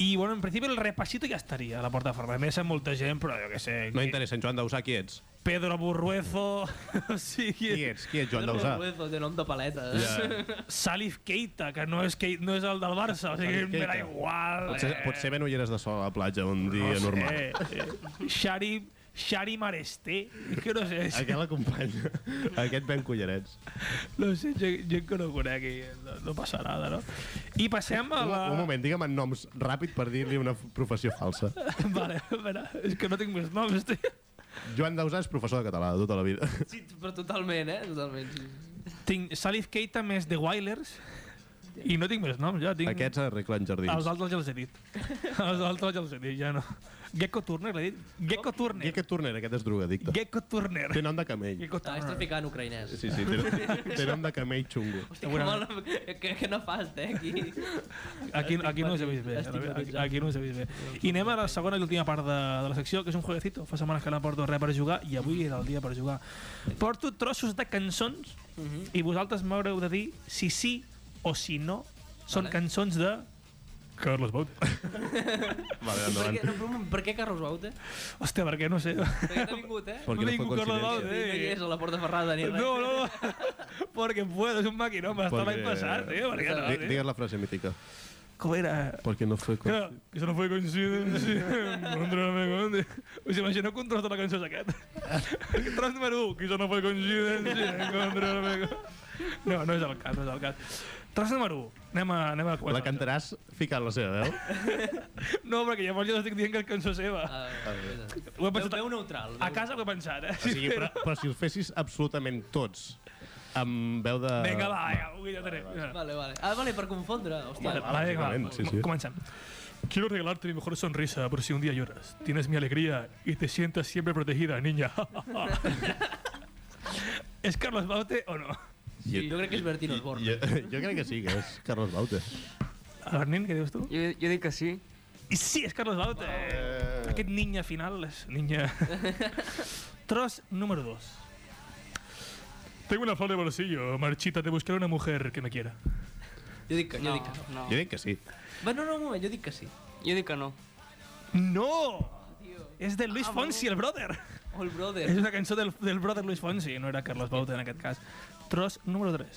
Speaker 2: I, bueno, en principi el repasito ja estaria a la plataforma. A més, hi ha molta gent, però jo què sé...
Speaker 1: No
Speaker 2: qui-
Speaker 1: interessa, en Joan Dausà, qui ets?
Speaker 2: Pedro Burruezo... [laughs] o sigui,
Speaker 1: Qui ets? Qui ets, Joan
Speaker 3: Pedro
Speaker 1: Dausà?
Speaker 3: Ruezo, de nom de eh? paleta.
Speaker 1: Eh,
Speaker 3: Yeah.
Speaker 2: Salif Keita, que no és, que, no és el del Barça. O sigui,
Speaker 1: Salif
Speaker 2: me da
Speaker 1: Keita.
Speaker 2: igual.
Speaker 1: Potser,
Speaker 2: eh.
Speaker 1: potser ben ulleres de sol a la platja un dia
Speaker 2: No
Speaker 1: normal.
Speaker 2: sé, eh, Shari, Shari Maresté, que
Speaker 1: [laughs]
Speaker 2: no sé,
Speaker 1: Aquest l'acompany. Aquest ben collarets.
Speaker 2: no sé, gent, gent que no conec i no, no passa nada, no? I passem a
Speaker 1: Un,
Speaker 2: la...
Speaker 1: un moment, digue'm en noms ràpid per dir-li una f- professió falsa.
Speaker 2: [laughs] Vale, a veure, és que no tinc més noms, tio.
Speaker 1: Joan Dausà és professor de català de tota la vida.
Speaker 3: Sí, però totalment, eh? Totalment. sí.
Speaker 2: Tinc Salif Keita més The Wailers i no tinc més noms, ja tinc...
Speaker 1: Aquests arreglen
Speaker 2: Els
Speaker 1: jardins.
Speaker 2: altres ja els he
Speaker 3: [laughs]
Speaker 2: dit. Els altres ja els he dit, ja no. Gecko Turner, l'he dit? Gecko Turner.
Speaker 1: Aquest Turner, aquest és drogadicte.
Speaker 2: Gecko Turner.
Speaker 1: Té nom de camell.
Speaker 2: Gecko
Speaker 3: Ah, estàs
Speaker 2: Turner.
Speaker 3: ficant ucraïnès.
Speaker 1: Sí, sí, té, té nom de camell xungo.
Speaker 3: Hosti, que, mal, que, que nefast, eh,
Speaker 1: [laughs]
Speaker 3: aquí.
Speaker 2: Aquí, aquí no us he vist bé.
Speaker 3: Estigmatitzat.
Speaker 2: Aquí, aquí no us he vist bé. I anem a la segona i última part de, de la secció, que és un jueguecito. Fa setmanes que no porto res per jugar i avui era el dia per jugar. Porto trossos de cançons
Speaker 3: Mhm.
Speaker 2: i vosaltres m'haureu de dir si sí o si no són
Speaker 3: Vale.
Speaker 2: cançons de... Carlos Baute.
Speaker 1: Vale,
Speaker 3: Per
Speaker 1: endavant.
Speaker 3: què, no, però, per què Carlos Baute?
Speaker 2: Hòstia, perquè no sé.
Speaker 3: Per què t'ha vingut, eh?
Speaker 1: Perquè no
Speaker 2: tinc
Speaker 1: fue
Speaker 2: un Carlos
Speaker 1: coincidència.
Speaker 3: No hi
Speaker 2: Baute.
Speaker 3: és a la porta ferrada ni res.
Speaker 2: [laughs] No, no, perquè puedo, és un maquinó, m'està l'any
Speaker 1: Perquè-
Speaker 2: passat, tio, perquè no,
Speaker 1: Di-
Speaker 2: tio.
Speaker 1: Digues la frase mítica.
Speaker 2: Com era?
Speaker 1: Porque no fue con...
Speaker 2: Claro, que eso no fue coincidencia. [laughs] Us imagineu que un tros de la cançó és aquest? [laughs] El tros número 1, que això no fue coincidència. encontrarme con- No, no és el cas, no és el cas. Tros número 1, anem a, anem a
Speaker 1: La
Speaker 2: començar.
Speaker 1: cantaràs ficant la seva veu?
Speaker 2: No, perquè llavors jo estic dient que és cançó seva.
Speaker 3: Ah,
Speaker 2: Ho he
Speaker 3: veu,
Speaker 2: pensat,
Speaker 3: veu neutral.
Speaker 2: a casa ho he pensat, eh?
Speaker 1: O
Speaker 2: [laughs]
Speaker 1: sigui, però, però si us fessis absolutament tots amb veu de...
Speaker 2: Vinga, va, vinga, avui ja tenim.
Speaker 3: Vale, vale. Ah, vale, per confondre. Hòstia,
Speaker 2: Vale, vale, venga,
Speaker 1: lógicamente, sí, sí.
Speaker 2: va, comenzan. Quiero regalarte mi mejor sonrisa por si un día lloras. Tienes mi alegría y te sientas siempre protegida, [laughs] niña. ¿Es Carlos Baute o no?
Speaker 3: sí, jo crec que és Bertino Osborne.
Speaker 1: Jo, jo crec que sí, que és Carlos Baute.
Speaker 2: Arnin, ¿qué dices tú?
Speaker 7: Jo, jo dic que sí.
Speaker 2: I sí, és Carlos Baute.
Speaker 1: Eh.
Speaker 2: Aquest niña final és niña. Tros número 2. Tengo una flor de bolsillo. Marchita, te buscaré una mujer que me quiera.
Speaker 3: Jo dic que, jo
Speaker 7: No,
Speaker 3: dic que no.
Speaker 7: no.
Speaker 1: Jo dic que sí.
Speaker 3: Va, no, no, un moment, jo dic que sí.
Speaker 7: Jo dic que no.
Speaker 2: ¡No! És de Luis Fonsi, el brother.
Speaker 3: Oh, el brother.
Speaker 2: És una cançó del, del brother Luis Fonsi, no era Carlos Baute en aquest cas. Tros número 3.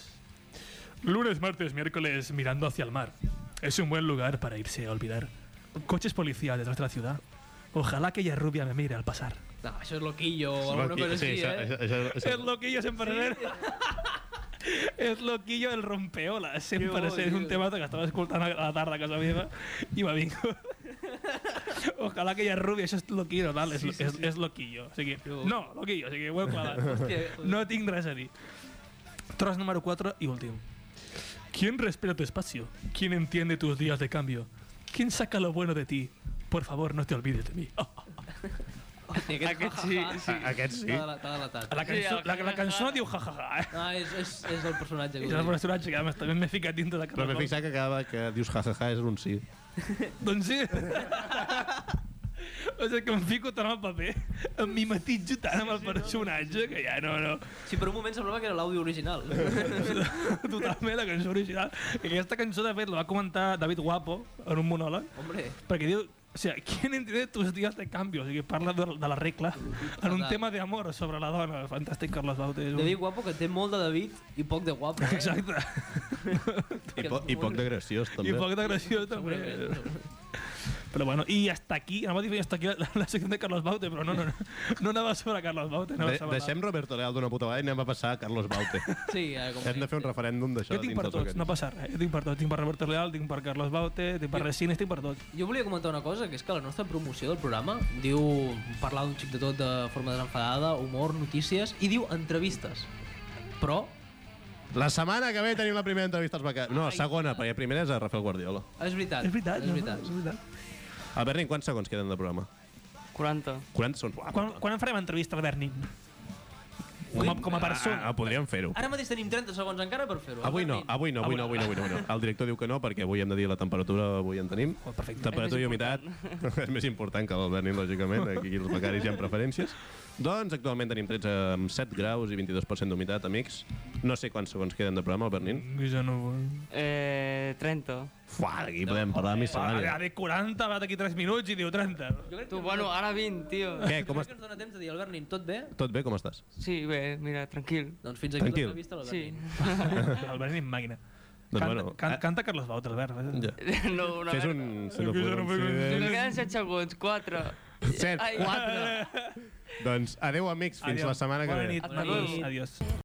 Speaker 2: Lunes, martes, miércoles, mirando hacia el mar. Es un buen lugar para irse a olvidar. Coches policía detrás de la ciudad. Ojalá aquella rubia me mire al pasar.
Speaker 3: No, això és loquillo o alguna cosa així,
Speaker 1: això,
Speaker 3: eh?
Speaker 1: això, això,
Speaker 2: Es loquillo siempre ver. Es loquillo [laughs] el rompeola,
Speaker 3: Qué
Speaker 2: siempre
Speaker 3: bo,
Speaker 2: ser un
Speaker 3: tio.
Speaker 2: tema que estava escoltant a la tarda a casa meva i va vingut. [laughs] Ojalá aquella rubia, això és loquillo, tal, és, sí, sí, és, és loquillo. O sigui,
Speaker 3: Que bo.
Speaker 2: no, loquillo, o sigui, ho heu [laughs] clavat.
Speaker 3: Hòstia,
Speaker 2: No tinc res a dir. Tros número 4 y último. ¿Quién respira tu espacio? ¿Quién entiende tus días de cambio? ¿Quién saca lo bueno de ti? Por favor, no te olvides de mí. Oh,
Speaker 3: hòstia, [laughs]
Speaker 7: Aquest sí, sí.
Speaker 1: Aquest sí.
Speaker 3: T'ha de la tata.
Speaker 2: La, cançó,
Speaker 7: el
Speaker 2: la, la
Speaker 7: que-
Speaker 2: cançó diu jajaja. Eh?
Speaker 3: Ah, és, és, és el personatge que
Speaker 2: I el
Speaker 3: ho diu.
Speaker 2: personatge que a més també m'he ficat dintre de
Speaker 1: Però m'he
Speaker 2: Carles Pau.
Speaker 1: fixat que cada vegada que dius jajaja és un sí.
Speaker 2: Doncs sí. [laughs] o sigui, que em fico tant al paper, em mimetitzo tant amb el personatge que ja no, [laughs] no.
Speaker 3: Sí, per un moment semblava que era l'àudio
Speaker 2: [laughs]
Speaker 3: original.
Speaker 2: Totalment la cançó original. I aquesta cançó, de fet, la va comentar David Guapo en un monòleg,
Speaker 3: Hombre,
Speaker 2: perquè diu... O sea, ¿quién entiende tus días de cambio? O sigui, parla de, de la regla en un
Speaker 3: Total.
Speaker 2: tema de amor sobre la dona. Fantàstic, Carles Baute. és un-
Speaker 3: David Guapo que té molt de David i poc de Guapo. Eh?
Speaker 2: Exacte.
Speaker 1: I, po i poc de graciós,
Speaker 2: I
Speaker 1: també.
Speaker 2: poc de gracioso, també. Però bueno, i hasta aquí, anava a dir hasta aquí la, la secció de Carlos Baute, però no, no, no, no anava sobre Carlos Baute. Anava
Speaker 1: De
Speaker 2: sobre...
Speaker 1: deixem Roberto Leal d'una puta vegada i anem a passar a Carlos
Speaker 2: [laughs]
Speaker 1: Baute.
Speaker 3: Sí, eh, com
Speaker 1: Hem de fer un referèndum d'això.
Speaker 2: Jo tinc per
Speaker 1: dins dels
Speaker 2: tots, no
Speaker 1: organismes.
Speaker 2: passa res. Jo tinc per tot. Tinc per Roberto Leal, tinc per Carlos Baute, tinc per Resines, tinc per tot.
Speaker 3: Jo volia comentar una cosa, que és que la nostra promoció del programa diu parlar d'un xic de tot de forma desenfadada, humor, notícies, i diu entrevistes. Però
Speaker 1: La setmana que ve tenim la primera entrevista als becaris. No, segona, perquè primera és a Rafael Guardiola.
Speaker 3: És veritat.
Speaker 2: És veritat,
Speaker 3: És veritat.
Speaker 2: No? És veritat.
Speaker 1: A Berni, quants segons queden de programa?
Speaker 7: 40.
Speaker 1: 40 segons. Uah,
Speaker 2: Quan, quan en farem entrevista al Bernin? Com a, com a persona.
Speaker 1: Ah, ah, podríem fer-ho.
Speaker 3: Ara mateix tenim 30 segons encara per fer-ho.
Speaker 1: Avui no, avui no, avui no, avui no, avui no, avui no. El director diu que no, perquè avui hem de dir la temperatura, avui en tenim. Perfecte. Temperatura i humitat [laughs] és més important que l'Albert Nin, lògicament, aquí els becaris hi ha preferències. Doncs actualment tenim 13 amb 7 graus i 22% d'humitat, amics. No sé quants segons queden de programa, Albert Nin.
Speaker 2: Jo ja no vull.
Speaker 7: Eh, 30
Speaker 1: Fuà, aquí podem parlar de
Speaker 2: Ha
Speaker 1: miscel·lània.
Speaker 2: de 40, va d'aquí 3 minuts i diu
Speaker 1: [laughs]
Speaker 2: 30.
Speaker 3: Jo crec que,
Speaker 7: Tu, bueno, ara 20, tio.
Speaker 1: Què, com
Speaker 3: crec
Speaker 1: est...
Speaker 3: que ens dona temps de dir, Albert Nin, tot bé?
Speaker 1: Tot bé, com estàs?
Speaker 7: Sí, bé, mira, tranquil.
Speaker 3: Doncs fins aquí
Speaker 1: Tranquil.
Speaker 3: l'entrevista a l'Albert
Speaker 7: Sí.
Speaker 3: Nin.
Speaker 2: El Bernin màquina.
Speaker 1: Doncs
Speaker 2: Canta,
Speaker 1: bueno,
Speaker 2: can,
Speaker 1: eh,
Speaker 2: canta Carlos Baut, Albert.
Speaker 1: ja.
Speaker 7: [laughs] No, una
Speaker 1: Fes
Speaker 7: merda.
Speaker 1: un... Eh, Si
Speaker 2: Eh,
Speaker 1: no
Speaker 2: que jo
Speaker 1: podem
Speaker 2: no puc-
Speaker 1: ser-
Speaker 7: Ens queden 7 segons, 4.
Speaker 1: Set,
Speaker 7: Ai.
Speaker 1: quatre. Doncs adeu, amics, fins la setmana que ve.
Speaker 2: Bona nit,
Speaker 7: Adéu.
Speaker 2: Adiós. Adiós.